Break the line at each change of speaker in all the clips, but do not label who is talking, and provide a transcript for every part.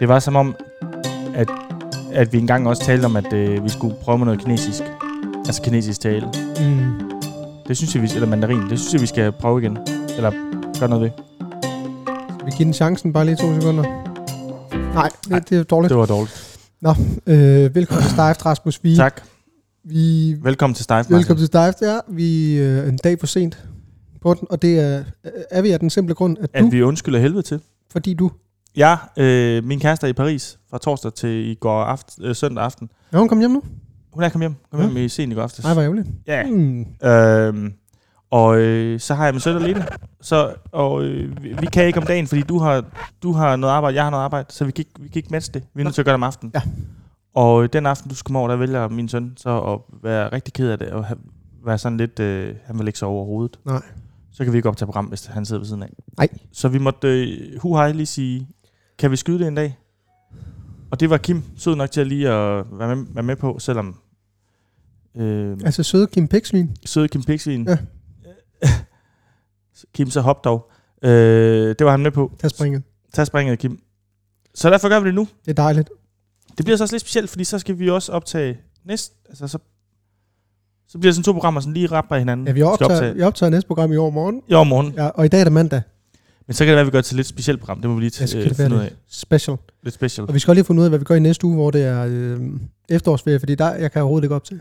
Det var som om, at, at vi engang også talte om, at øh, vi skulle prøve med noget kinesisk. Altså kinesisk tale.
Mm.
Det synes jeg, vi, eller mandarin. Det synes jeg, vi skal prøve igen. Eller gøre noget ved.
Vi giver den chancen bare lige to sekunder. Nej,
Nej,
det, det er dårligt.
Det var dårligt.
Øh, velkommen til Stift, Rasmus. Vi,
Tak.
Vi,
Velkommen til Stejf.
velkommen til Stift, ja. Vi øh, er en dag for sent på den, og det er, er vi af den simple grund, at,
At
du, vi...
vi undskylder helvede til.
fordi du...
Jeg, øh, min kæreste er i Paris fra torsdag til i går aften, øh, søndag aften.
Ja, hun kom hjem nu.
Hun er kommet hjem. Kom hjem i sen i går aftes.
Nej, hvor ærgerligt.
Ja.
Mm.
Øhm, og øh, så har jeg min søn alene. Så, og øh, vi- vi kan ikke om dagen, fordi du har, du har noget arbejde, jeg har noget arbejde, så vi kan ikke, vi kan ikke matche det. Vi er nødt til at gøre det om aftenen.
Ja.
Og øh, den aften, du skal komme over, der vælger min søn så at være rigtig ked af det, og have, være sådan lidt, øh, han vil ikke sove overhovedet.
Nej.
Så kan vi ikke optage program, hvis han sidder ved siden af.
Nej.
Så vi måtte øh, hu hej lige sige, kan vi skyde det en dag? Og det var Kim sød nok til at lige at være med, være med på, selvom... Øh,
Altså søde Kim Pixlin.
søde Kim Pixien. Ja.
Ja.
Kim, så hop dog. Øh, det var han med på.
der springet.
Tag springet, Kim. Så derfor gør vi det nu.
Det er dejligt.
Det bliver så også lidt specielt, fordi så skal vi også optage næste... Altså, så, så bliver det sådan to programmer, sådan lige rapper hinanden.
Ja, vi
Mm. Skal
optager, vi optager næste program i år morgen.
I år morgen.
Ja, og i dag er det mandag.
Men så kan det være, at vi gør det til et lidt specielt program. Det må vi lige
Ja, så
t-
kan
øh,
det være
finde ud af.
lidt special.
Lidt specielt.
Og vi skal også lige finde ud af, hvad vi gør i næste uge, hvor det er øh, efterårsferie, fordi der, jeg kan overhovedet ikke op til.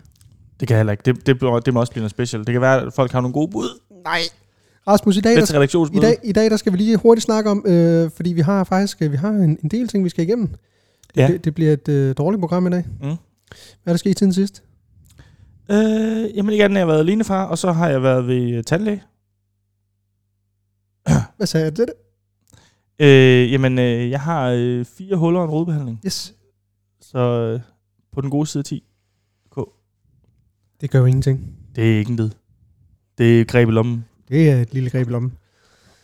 Det kan jeg heller ikke. Det, det, bliver- det må også blive noget specielt. Det kan være, at folk har nogle gode bud.
Nej. Rasmus, i dag,
Lidt
der
til redaktionsbud.
I dag, I dag der skal vi lige hurtigt snakke om, øh, fordi vi har faktisk øh, vi har en, en del ting, vi skal igennem.
Ja.
Det, det bliver et øh, dårligt program i dag.
Mm.
Hvad er der sket siden sidst?
Øh, jamen, igen har jeg været alene far, og så har jeg været ved øh, tandlæge.
Hvad sagde jeg til det?
Øh, jamen, øh, jeg har øh, fire huller og en rodbehandling.
Yes.
Så øh, på den gode side 10.
Det gør jo ingenting.
Det er ikke en lid. Det er greb i lommen.
Det er et lille greb i lommen.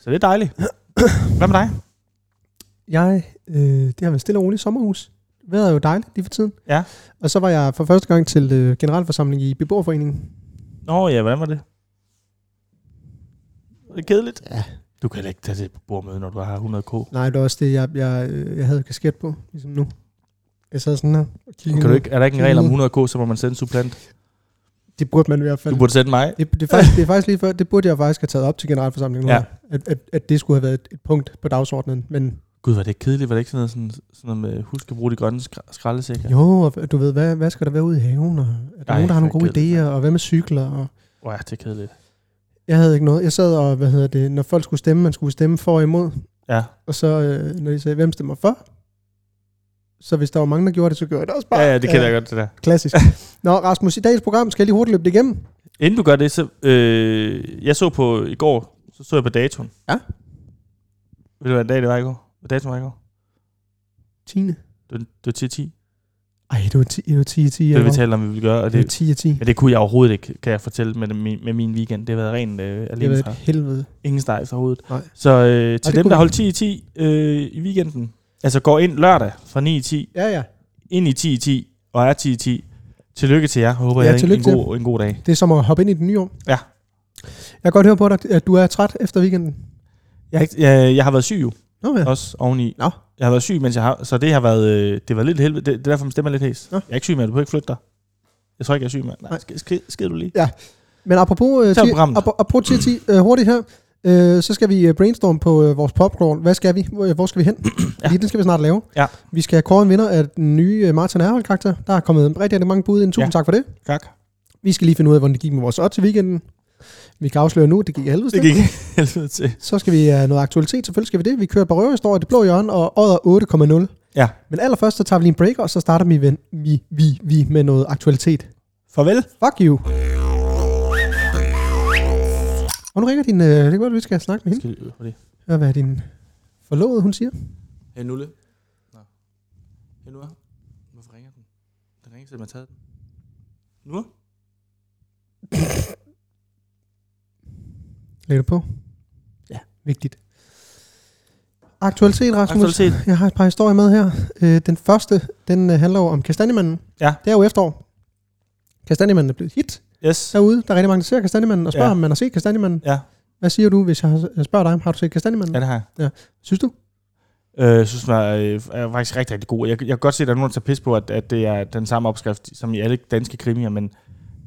Så det er dejligt. Hvad med dig?
Jeg, øh, det har været stille og roligt sommerhus. Vejret er jo dejligt lige for tiden.
Ja.
Og så var jeg for første gang til øh, generalforsamling i beboerforeningen.
Nå ja, hvordan var det? Var det kedeligt? Ja. Du kan heller ikke tage til et bordmøde, når du har 100k.
Nej, det var også det, jeg, jeg, øh, jeg havde kasket på, ligesom nu. Jeg sad sådan her og kiggede.
Kan du
ned.
ikke, er der ikke en regel om 100k, så må man sende en supplant?
Det burde man i hvert fald.
Du burde sende mig.
Det, det, er faktisk, det er faktisk lige før, det burde jeg faktisk have taget op til generalforsamlingen nu,
Ja.
ja. at, at, at det skulle have været et, et punkt på dagsordenen. Men
Gud, var det ikke kedeligt? Var det ikke sådan noget, sådan, sådan noget med, husk at bruge de grønne skra- skraldesækker?
ja. jo, og du ved, hvad, hvad skal der være ude i haven, og er
Ej,
der Ej, nogen, der har nogle
for
gode
helvede,
idéer, og hvad med cykler? Og
Åh, ja, det er kedeligt.
jeg havde ikke noget. Jeg sad og, hvad hedder det, når folk skulle stemme, man skulle stemme for og imod,
Ja.
og så øh, når de sagde, hvem stemmer for? Så hvis der var mange, der gjorde det, så gjorde jeg det også bare.
Ja, ja, det kender jeg godt, det der.
Klassisk. Nå, Rasmus, i dagens program skal jeg lige hurtigt løbe det igennem.
Inden du gør det, så... Øh, jeg så på i går, så så jeg på datoen.
Ja.
Ved du, hvad dag det var i går? Hvad datoen var i går?
Tine.
Det var, det var 10 10.
Ej, det var 10 det var 10 10.
Det var, vi
Det
talte om, vi ville gøre. Og
var
det,
10 10.
men det kunne jeg overhovedet ikke, kan jeg fortælle med, min, med min weekend. Det har været rent øh,
Det
alene
var
fra.
et helvede.
Ingen steg fra hovedet.
Nej.
Så øh, til
det
dem,
kunne
der
vi-
holdt 10 10 øh, i weekenden, altså går ind lørdag fra 9 10,
Ja, ja.
ind i 10 10 og er 10 10, tillykke til jer. Jeg håber,
Ja,
ja, jeg havde en,
tillykke
en,
til
god, en god dag.
Det er som at hoppe ind i den nye år.
Ja.
Jeg kan godt høre på dig, at du er træt efter weekenden.
Jeg, har ikke- jeg, jeg har været syg jo.
Nå ja.
også oveni.
Nå.
Jeg har været syg, mens jeg har... Så det har været... Øh, det var lidt helvede. Det, det er derfor, min stemme er lidt hæs.
Nå.
Jeg er ikke syg, mand. Du behøver ikke flytte dig. Jeg tror ikke, jeg er syg, mand. Nej,
Nej.
sk- sk- skid du lige.
Men apropos, øh,
Tag
ti-
programmet.
apro- apropos 10, 10 øh, hurtigt her, øh, så skal vi øh, brainstorme på øh, vores popcorn. Hvad skal vi? Hvor, øh, hvor skal vi hen? ja. Lige den skal vi snart lave.
Ja.
Vi skal kåre en vinder af den nye øh, Martin Erhold karakter. Der er kommet rigtig, rigtig mange bud ind. Tusind
Ja.
ja. tak for det.
Tak.
Vi skal lige finde ud af, hvordan det gik med vores odds i weekenden. Vi kan afsløre nu, det gik i helvede.
Det
til.
gik helvede til.
Så skal vi have noget aktualitet, selvfølgelig skal vi det. Vi kører på røverhistorier, det blå hjørne og ådder 8,0.
Ja.
Men allerførst, så tager vi lige en break, og så starter vi, ved- vi, vi, vi med noget aktualitet.
Farvel.
Fuck you. Og nu ringer din... Øh, det er godt, at vi skal snakke med hende.
Skal vi øve for det?
Hør, hvad din forlovede, hun siger.
Hey, Nulle. Nå. Hey, Nure. Hvorfor ringer den? Den ringer, selvom jeg har taget den. Nure?
Læg det på.
Ja.
Vigtigt. Aktualitet, Rasmus.
Aktualitet.
Jeg har et par historier med her. Øh, den første, den øh, handler jo om kastanjemanden.
Ja.
Det er jo efterår. Kastanjemanden er blevet hit
Yes.
derude. Der er rigtig mange, der ser kastanjemanden og spørger,
Ja.
ja. om man har set kastanjemanden.
Ja.
Hvad siger du, hvis jeg har- jeg spørger dig, har du set kastanjemanden?
Ja, det har jeg.
Synes du?
Øh, Jeg synes, den er, øh, er faktisk rigtig, rigtig god. Jeg, jeg kan godt se, at der er nogen, der tager pis på, at, at det er den samme opskrift som i alle danske krimier, men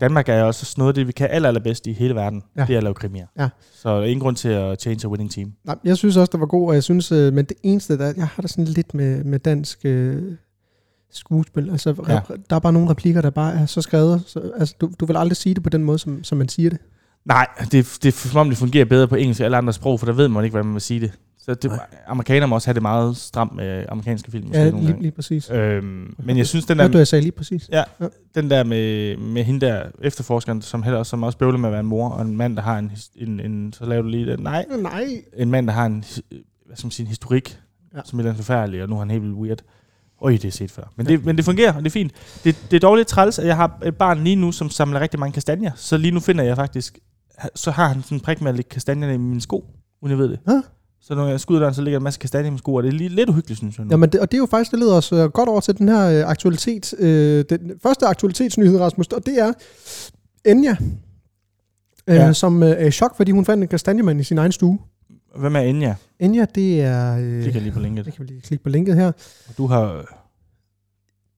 Danmark er også sådan noget, af det vi kan aller, allerbedst i hele verden.
Ja.
Ja. Det er at lave krimier.
Ja.
Så der er ingen grund til at change a winning team.
Nej, jeg synes også, det var god, og jeg synes, øh, men det eneste, der, jeg har da sådan lidt med, med dansk øh, skuespil, altså ja. der er bare nogle replikker, der bare er så skrevet, så, altså du, du vil aldrig sige det på den måde, som, som man siger det.
Nej, det, det er som om, det fungerer bedre på engelsk og alle andre sprog, for der ved man ikke, hvordan man vil sige det. Så det,
Nej.
amerikanere må også have det meget stramt med amerikanske film. Måske
Ja,
nogle
lige,
gange.
lige præcis.
Øhm, men jeg synes, den
Hvad du,
der,
jeg sagde lige præcis?
den der med, med hende der efterforskeren, som heller også, som også bøvler med at være en mor, og en mand, der har en, his- en, en så laver du lige det. Nej,
Nej.
en mand, der har en, øh, hvad skal man sige, en historik,
Ja.
ja. som er lidt forfærdelig, og nu er han helt vildt weird. Øj, det er set før. Men det, men det fungerer, og det er fint. Det, det er dog lidt træls, at jeg har et barn lige nu, som samler rigtig mange kastanjer. Så lige nu finder jeg faktisk, så har han sådan en prik med at lægge kastanjerne i mine sko, uden jeg ved det.
Hå?
Så når jeg skyder døren, så ligger der en masse kastanjer i mine sko, og det er lige lidt uhyggeligt, synes jeg nu.
Jamen, det, og det er jo faktisk, det leder os øh, godt over til den her øh, aktualitet. Øh, den første aktualitetsnyhed, Rasmus, og det er Enya, øh, ja.
Ja.
som øh, er i chok, fordi hun fandt en kastanjemand i sin egen stue.
Hvem er Enya?
Enya, det er... Øh,
Det kan lige på linket.
det kan vi lige klikke på linket her.
Og Du har... øh,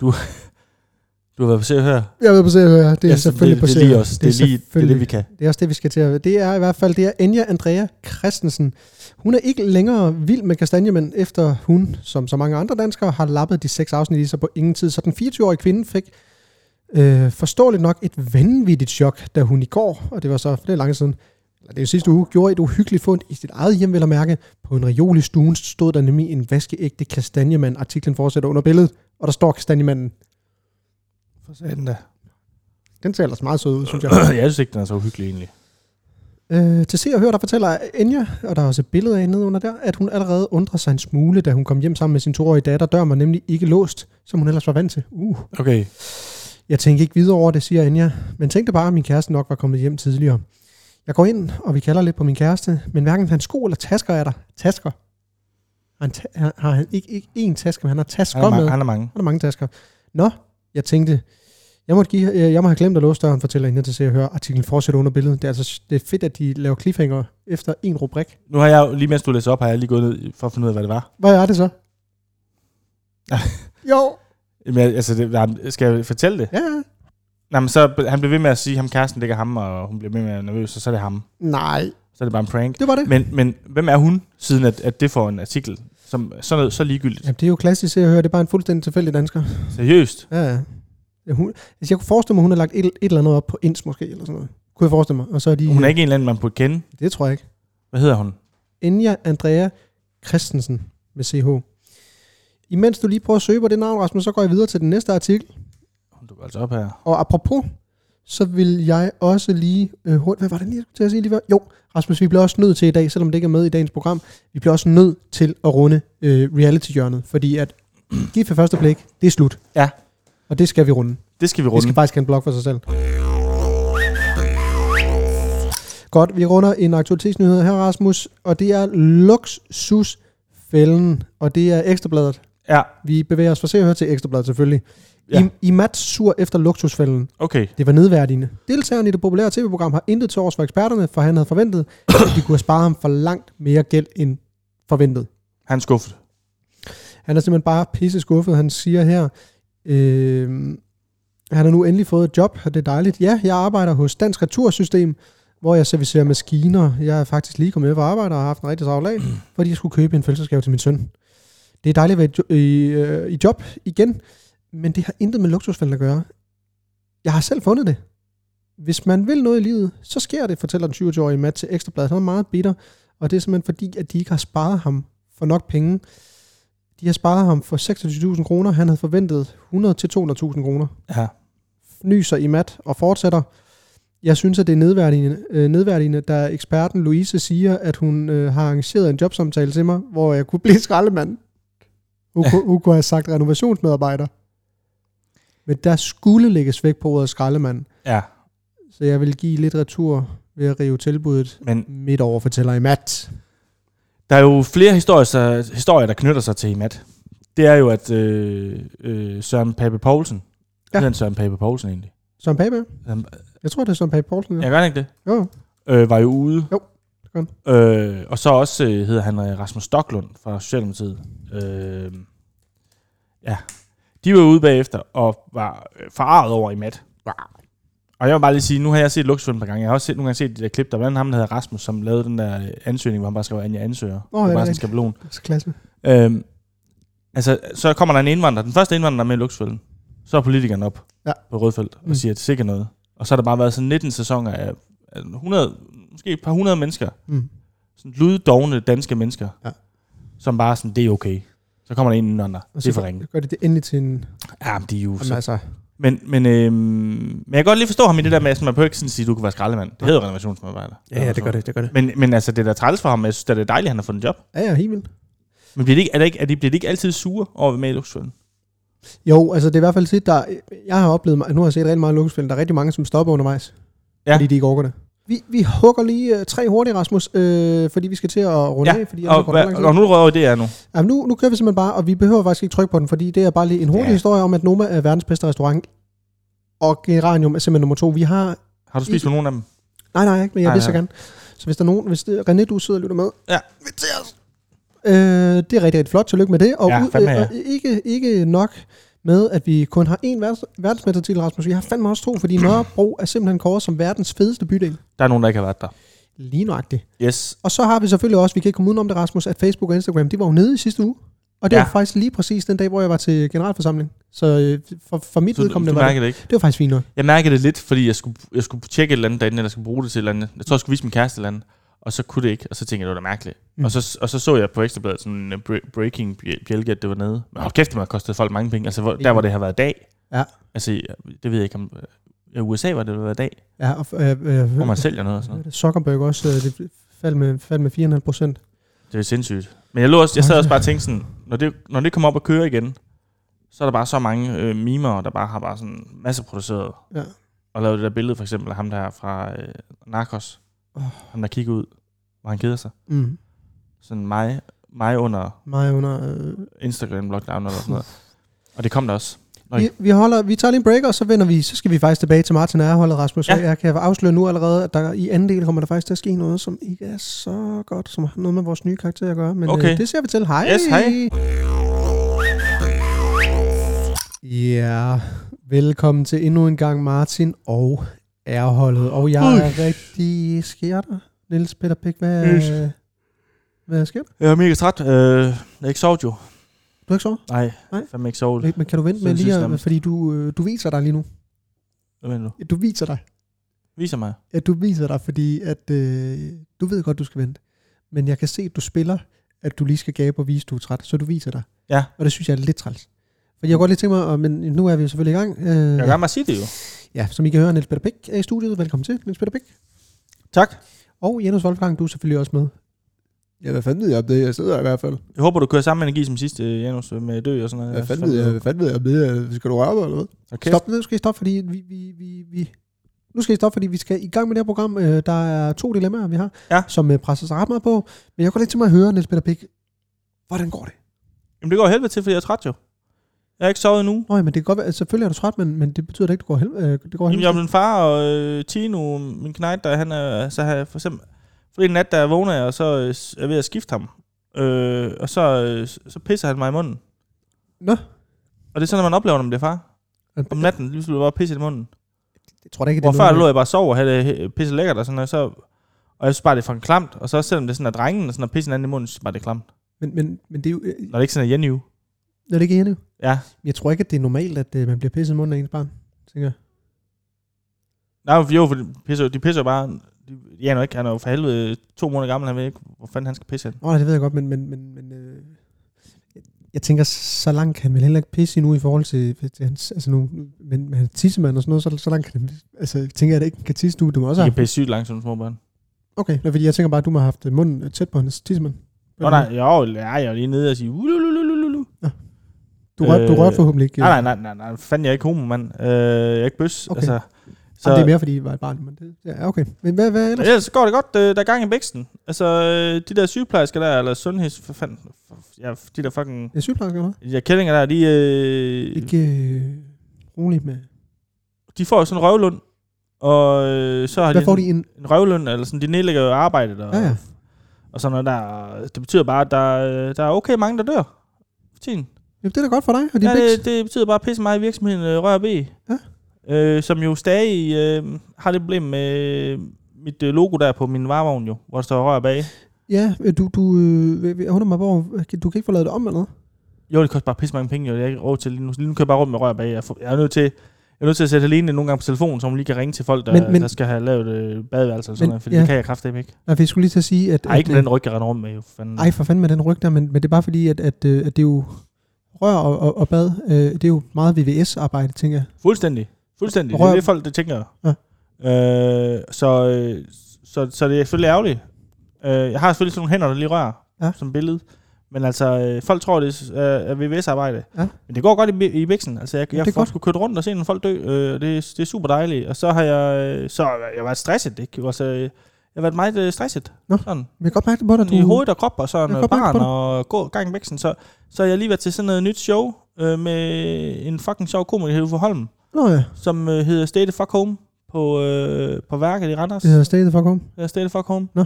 Du, du har været på se her.
Jeg ved på se, hvad det er ja, selvfølgelig
det, det,
på
er lige
serie.
os. Det, er lige, det er
selvfølgelig-
det, vi kan.
Det er også det, vi skal til at Det er i hvert fald, det er Enya Andrea Christensen. Hun er ikke længere vild med kastanjemænd, efter hun, som så mange andre danskere, har lappet de seks afsnit i sig på ingen tid. Så den 24-årige kvinde fik øh, forståeligt nok et vanvittigt chok, da hun i går, og det var så for det er lang tid siden, eller det er jo sidste uge, gjorde et uhyggeligt fund i sit eget hjem, vil jeg mærke. På en reol i stuen stod der nemlig en vaskeægte kastanjemand. Artiklen fortsætter under billedet, og der står kastanjemanden.
For satan da.
Den ser ellers meget sød ud, synes jeg.
Jeg synes ikke, den er så uhyggelig egentlig.
Øh, til se og hør, der fortæller Enya, og der er også et billede af hende nede under der, at hun allerede undrer sig en smule, da hun kom hjem sammen med sin toårige datter. Døren var nemlig ikke låst, som hun ellers var vant til. Uh.
Okay.
Jeg tænkte ikke videre over det, siger Enya, men tænkte bare, at min kæreste nok var kommet hjem tidligere. Jeg går ind, og vi kalder lidt på min kæreste, men hverken hans sko eller tasker er der. Tasker? Har Han ta- har- har han ikke, ikke én taske, men han har tasker
Han er,
med.
mange, han er mange.
Han har mange tasker. Nå, jeg tænkte, jeg, måtte give, øh, jeg må have glemt at låse døren, fortæller hende til se og høre. Artiklen fortsætter under billedet. Det er, altså, det er fedt, at de laver cliffhanger efter en rubrik.
Nu har jeg jo, lige mens du læser op, har jeg lige gået ned for at finde ud af, hvad det var.
Hvad er det så? jo.
Men jeg- altså, det, nej, skal jeg fortælle det?
Ja, ja.
Nej, men så, han blev ved med at sige, at ham kæresten ligger ham, og hun bliver ved med at være nervøs, og så er det ham.
Nej,
Så er det bare en prank.
det var det.
Men, men hvem er hun, siden at, at det får en artikel, som er sådan noget, så ligegyldigt?
Jamen, det er jo klassisk se og høre. Det er bare en fuldstændig tilfældig dansker.
Seriøst?
Ja, ja. Ja, Hun, altså, jeg kunne forestille mig, hun har lagt et, et eller andet op på Ins måske, eller sådan noget. Kunne jeg forestille mig. Og så er de,
Hun er ikke en eller anden, man burde kende.
Det tror jeg ikke.
Hvad hedder hun?
Enja Andrea Christensen med CH. Imens du lige prøver at søge på det navn, Rasmus, så går jeg videre til den næste artikel.
Hun dukker altså op her.
Og apropos, så vil jeg også lige øh, hurtigt... Hvad var det lige, jeg skulle til at sige lige før? Jo, Rasmus, vi bliver også nødt til i dag, selvom det ikke er med i dagens program, vi bliver også nødt til at runde øh, reality-hjørnet, fordi at gift ved første blik, det er slut.
Ja.
Og det skal vi runde.
Det skal vi
Det
runde.
skal faktisk have en blog for sig selv. Godt, vi runder en aktualitetsnyhed her, Rasmus, og det er luksusfælden, og det er Ekstrabladet.
Ja,
Vi bevæger os fra se og høre til Ekstrabladet selvfølgelig. Ja.
Ja.
I, I mat sur efter luksusfælden.
okay.
Det var nedværdigende. Deltageren i det populære tv-program har intet til års for eksperterne, for han havde forventet, at de kunne have sparet ham for langt mere gæld end forventet.
Han er skuffet.
Han er simpelthen bare pisse skuffet. Han siger her, øh, han har nu endelig fået et job, og det er dejligt. Ja, jeg arbejder hos Dansk Retursystem, hvor jeg servicerer maskiner. Jeg er faktisk lige kommet med fra arbejde og har haft en rigtig travl dag, fordi jeg skulle købe en fødselsgave til min søn. Det er dejligt at være i jo- i, øh, i job igen, men det har intet med luksusfælden at gøre. Jeg har selv fundet det. Hvis man vil noget i livet, så sker det, fortæller den 27-årige Matt til Ekstrabladet. Han er meget bitter, og det er simpelthen fordi, at de ikke har sparet ham for nok penge. De har sparet ham for 26.000 kroner. Han havde forventet 100-200.000 kroner.
Ja.
Nyser i mat og fortsætter. Jeg synes, at det er nedværdigende, øh, nedværdigende da eksperten Louise siger, at hun øh, har arrangeret en jobsamtale til mig, hvor jeg kunne blive skraldemand. Hun, ja. hun kunne have sagt renovationsmedarbejder. Men der skulle lægges væk på ordet skraldemand.
Ja,
Så jeg vil give lidt retur ved at rive tilbuddet
men
midt over, fortæller I Matt.
Der er jo flere historier, så- historier der knytter sig til Imat. Det er jo, at øh, øh, Søren Pape Poulsen,
Ja.
ja. hedder han Søren Pape Poulsen egentlig?
Søren Pape?
Han,
Jeg tror, det er Søren Pape Poulsen. Ja.
jeg gør han ikke det.
Jo,
Øh, var jo ude
Jo, det Godt.
Øh, og så også øh, hedder han øh, Rasmus Stocklund fra Socialdemokratiet. Øh, ja. De var ude bagefter og var øh, forarvet over i Matt. Og jeg vil bare lige sige, nu har jeg set Luxfilm et par gange. Jeg har også set, nogle gange set det der klip, der var ham, der hedder Rasmus, som lavede den der øh, ansøgning, hvor han bare skrev, Anja ansøger.
Åh,
Oh, det
ja,
var bare sådan
det er
en skabelon.
Så klasse.
Øhm, altså, så kommer der en indvandrer. Den første indvandrer, der er med i Luxfælden. Så er politikeren op
Ja.
ja. på Rødfeldt og
Mm.
siger, at det er sikkert noget. Og så har der bare været sådan 19 sæsoner af af 100, måske et par hundrede mennesker.
Mm.
Sådan luddogne danske mennesker.
Ja.
Som bare sådan, det er okay. Så kommer der en indvandrer.
Og
Det er
så
for ringe.
gør de det endelig til en...
Ja, men de er jo
Jamen,
så.
altså,
Men, men, øhm, men jeg kan godt lige forstå ham i det der med, at sådan, man behøver ikke sådan sige, at du kan være skraldemand. Det hedder renovationsmedarbejder.
det, det gør det.
Men, men altså, det der træls for ham, jeg synes, da det er dejligt, at han har fået en job.
Ja, ja, helt vildt.
Men bliver det ikke, er det ikke, er de, bliver det ikke altid sure over at være med i Luxfælden?
Jo, altså det er i hvert fald tit, der... Jeg har oplevet, nu har jeg set rigtig meget luksusfilm, der er rigtig mange, som stopper undervejs.
Ja.
Fordi de ikke overgår det. Vi, vi hugger lige uh, tre hurtigt, Rasmus, øh, fordi vi skal til at runde
Ja,
af. Fordi
Og,
hvad,
hvad, og nu rører det er nu.
Jamen, nu, nu kører vi simpelthen bare, og vi behøver faktisk ikke trykke på den, fordi det er bare lige en hurtig
Ja.
historie om, at Noma er verdens bedste restaurant, og Geranium er simpelthen nummer to. Vi har
Har du spist på nogen af dem?
Nej, nej, ikke, men jeg
Nej,
vil så
nej.
gerne. Så hvis der er nogen, hvis det, René, du sidder og lytter med.
Ja.
Øh, det er rigtig, rigtig flot. Tillykke med det. Og,
Ja,
ud, øh,
fandme, ja.
og ikke, ikke nok med, at vi kun har én verdens, verdensmestertitel, Rasmus. Vi har fandme også to, fordi Nørrebro er simpelthen kåret som verdens fedeste bydel.
Der er nogen, der ikke har været der.
Lige nøjagtigt.
Yes.
Og så har vi selvfølgelig også, vi kan ikke komme udenom det, Rasmus, at Facebook og Instagram, de var jo nede i sidste uge. Og det ja.
Ja.
var faktisk lige præcis den dag, hvor jeg var til generalforsamling. Så øh, for, for mit
Så du,
vedkommende
du
var det,
mærker det ikke?
det var faktisk fint nok.
Jeg mærker det lidt, fordi jeg skulle, jeg skulle tjekke et eller andet derinde, eller skulle bruge det til et eller andet. Jeg tror, jeg skulle vise min kæreste et eller andet, og så kunne det ikke. Og så tænkte jeg, det var da mærkeligt.
Mm.
Mm. Og, så, og så så jeg på Ekstrabladet sådan en øh, bre- breaking bj- bjælke, at det var nede. Men hold kæft, det må have kostet folk mange penge. Altså, hvor, der hvor det har været dag.
Ja.
Altså, jeg- det ved jeg ikke om... I USA var det der var dag,
Ja, og, øh, øh,
hvor man sælger noget og sådan noget.
Zuckerberg også, øh, det faldt med, faldt med 4,5 procent.
Det er sindssygt. Men jeg, lå også, jeg sad også bare og tænkte sådan, når det, når det kommer op og kører igen, så er der bare så mange øh, mimer, der bare har bare sådan masse produceret.
Ja.
Og lavet det der billede for eksempel af ham der fra øh, Narcos.
Åh.
Oh. Ham der kigger ud, hvor han keder sig.
Mm.
Sådan mig, mig under
Meget under... Øh.
Instagram lockdown eller sådan noget. Og det kom der også. Nå,
Vi, vi, holder, vi tager lige en break, og så vender vi, så skal vi faktisk tilbage til Martin Erholdet, Rasmus. Ja.
Ja.
Jeg kan afsløre nu allerede, at der i anden del kommer der faktisk til at ske noget, som ikke er så godt, som har noget med vores nye karakter at gøre. Men okay.
Okay.
øh, det ser vi til. Hej!
Yes, hej.
Ja, velkommen til endnu en gang Martin og Erholdet. Og jeg er rigtig sker der. Niels Peter Pick, hvad,
Yes.
hvad sker der?
Jeg er mega træt. Øh, jeg har ikke sovet jo.
Du har ikke sovet?
Nej,
Nej.
Nej. fandme ikke sovet.
Men kan du vente med
Sindssygt
lige at,
slemt.
fordi du, øh, du viser dig lige nu.
Hvad mener du?
Ja, Du viser dig.
Viser mig.
Ja, du viser dig, fordi at, øh, du ved godt, du skal vente. Men jeg kan se, at du spiller, at du lige skal gabe og vise, at du er træt. Så du viser dig.
Ja.
Og det synes jeg er lidt træls. For jeg kunne godt lige tænke mig, og, men nu er vi jo selvfølgelig i gang. Øh,
Jeg kan gerne bare sige det jo.
ja, som I kan høre, Niels Peter Bæk er i studiet. Velkommen til, Niels Peter Bæk.
Tak.
Og Janus Wolfgang, du er selvfølgelig også med. Ja, hvad fanden ved jeg om det? Jeg sidder i hvert fald.
Jeg håber, du kører samme energi som sidste, øh, Janus, med dø og sådan noget.
fanden ved jeg om det? Skal du røre mig eller hvad?
Okay.
Stop, nu skal I stoppe, fordi vi, vi, vi, vi, nu skal I stoppe, fordi vi skal i gang med det her program. Øh, Der er to dilemmaer, vi har,
Ja.
som øh, presser sig ret meget på. Men jeg går lidt til mig at høre, Niels Peter Pick, hvordan går det?
Jamen, det går helvede til, fordi jeg er træt jo. Jeg har ikke sovet endnu.
Nå, ja, men det kan godt være, altså, selvfølgelig er du træt, men, men det betyder da ikke, du går hel, øh, det går
Jamen, jeg er
hel.
min far og øh, Tino, min knægt, der han er, så har jeg for eksempel, fordi en nat, der vågner jeg, og så øh, s- er jeg ved at skifte ham. Øh, og så, øh, s- så pisser han mig i munden.
Nå.
Og det er sådan, at man oplever, når man bliver far. Om natten, lige pludselig bare pisse i munden.
Jeg tror da ikke, det
Hvor
er
før
noget.
lå jeg bare og sov og havde det øh, pisse lækkert og sådan noget, så... Og jeg synes bare, det er for en klamt. Og så selvom det er sådan, at drengen og sådan at pisse hinanden i munden, så synes jeg bare, det er klamt.
Men, men, men det er jo... Øh,
Når det ikke sådan er Jenny.
er det ikke endnu?
Ja.
Jeg tror ikke, at det er normalt, at øh, man bliver pisset i munden af ens barn. Tænker. jeg.
Nej, for- jo, for de pisser, jo- de pisser jo bare... De, ja, nu ikke, han er jo for helvede to måneder gammel, han ved ikke, hvor fanden han skal pisse hen.
Nå, nej, det ved jeg godt, men... men, men, men øh, jeg- jeg tænker, så langt kan han vel heller ikke pisse endnu i forhold til, til hans, altså nu, men, men hans tissemand og sådan noget, så, så langt kan han, altså tænker jeg, at det ikke kan tisse nu, du må også
De
have,
kan pisse sygt langsomt, små børn.
okay, nej, fordi jeg tænker bare, at du må have haft munden tæt på hans tissemand.
Nå nej, jo, ja, jeg er lige nede og sige, ulululululu.
Du rørte, øh, du
Øh,
rørte forhåbentlig ikke.
Nej, nej, nej, nej, nej, fanden, jeg er ikke homo, mand. Øh, jeg er ikke bøs.
Okay.
Altså,
Så, Jamen, det er mere, fordi I var et barn, men det, ja, okay. Men hvad, hvad ellers?
Ellers så går det godt, øh, der er gang i væksten. Altså, øh, de der sygeplejersker der, eller sundheds... For fanden, for, ja, de der fucking...
Ja, sygeplejersker, hvad?
De der kællinger der, de, øh,
Ikke øh, roligt med...
de får jo sådan en røvlund. Og øh, så har
Hvad
de
får
sådan
de en...
en røvløn, eller sådan, de nedlægger jo arbejdet. Og,
Ja, ja.
og sådan noget der. Det betyder bare, at der, øh, der er okay mange, der dør. for Tiden.
Jamen, det er da godt for dig og din
Ja,
ja,
det, det betyder bare pisse meget i virksomheden øh, Rør B.
Ja.
Øh, som jo stadig øh, har det problem med mit øh, logo der på min varevogn jo, hvor der står Rør bag.
Ja, øh, du, du, øh, jeg undrer mig, hvor, du kan ikke få lavet det om eller noget.
Jo, det koster bare pisse mange penge, og jeg er ikke råd til lige nu. Lige nu kører jeg bare rundt med Rør bag. Jeg, får, jeg er nødt til... Jeg er nødt til at sætte Helene nogle gange på telefonen, så hun lige kan ringe til folk, der,
Men-
men,
men-
men, der skal have lavet øh, badeværelser og sådan
Men-
noget, fordi
ja.
det kan jeg kraftedeme ikke.
Nej, for jeg skulle lige til at sige, at...
Ej,
at,
ikke med den ryg, jeg render rundt med, jo. Fanden.
Ej, for fanden med den ryg der, men, men det er bare fordi, at, at, øh, at det er jo rør og, og, og bad, øh, det er jo meget VVS-arbejde, tænker jeg.
Fuldstændig. Fuldstændig. Det
Rør-
er det, folk det tænker.
Ja.
Øh, så, øh, så, så det er selvfølgelig ærgerligt. Øh, jeg har selvfølgelig sådan nogle hænder, der lige rører
Ja.
ja. som billede. Men altså, øh, folk tror, det er, øh, er VVS-arbejde.
Ja.
Men det går godt i, bi- i biksen. Altså, jeg,
Ja,
jeg
det er
får
godt.
sgu kørt rundt og se nogle folk dø. Øh, og det, er- det er super dejligt. Og så har jeg, øh, så har jeg været stresset. Ikke? Altså, øh, jeg har været meget øh, stresset.
Nå.
Sådan
Men jeg kan godt mærke det på dig,
sådan
du...
i hovedet og krop og sådan
Jeg
noget
kan godt mærke
barn
på
og gå gang i væksten, så, så har jeg lige været til sådan noget nyt show øh, med en fucking sjov komiker, der hedder Uffe Holm,
Nå ja,
som øh, hedder State Fuck Home på, øh, på værket i Randers.
det hedder Stated for Home.
Det er State Fuck Home.
Nå.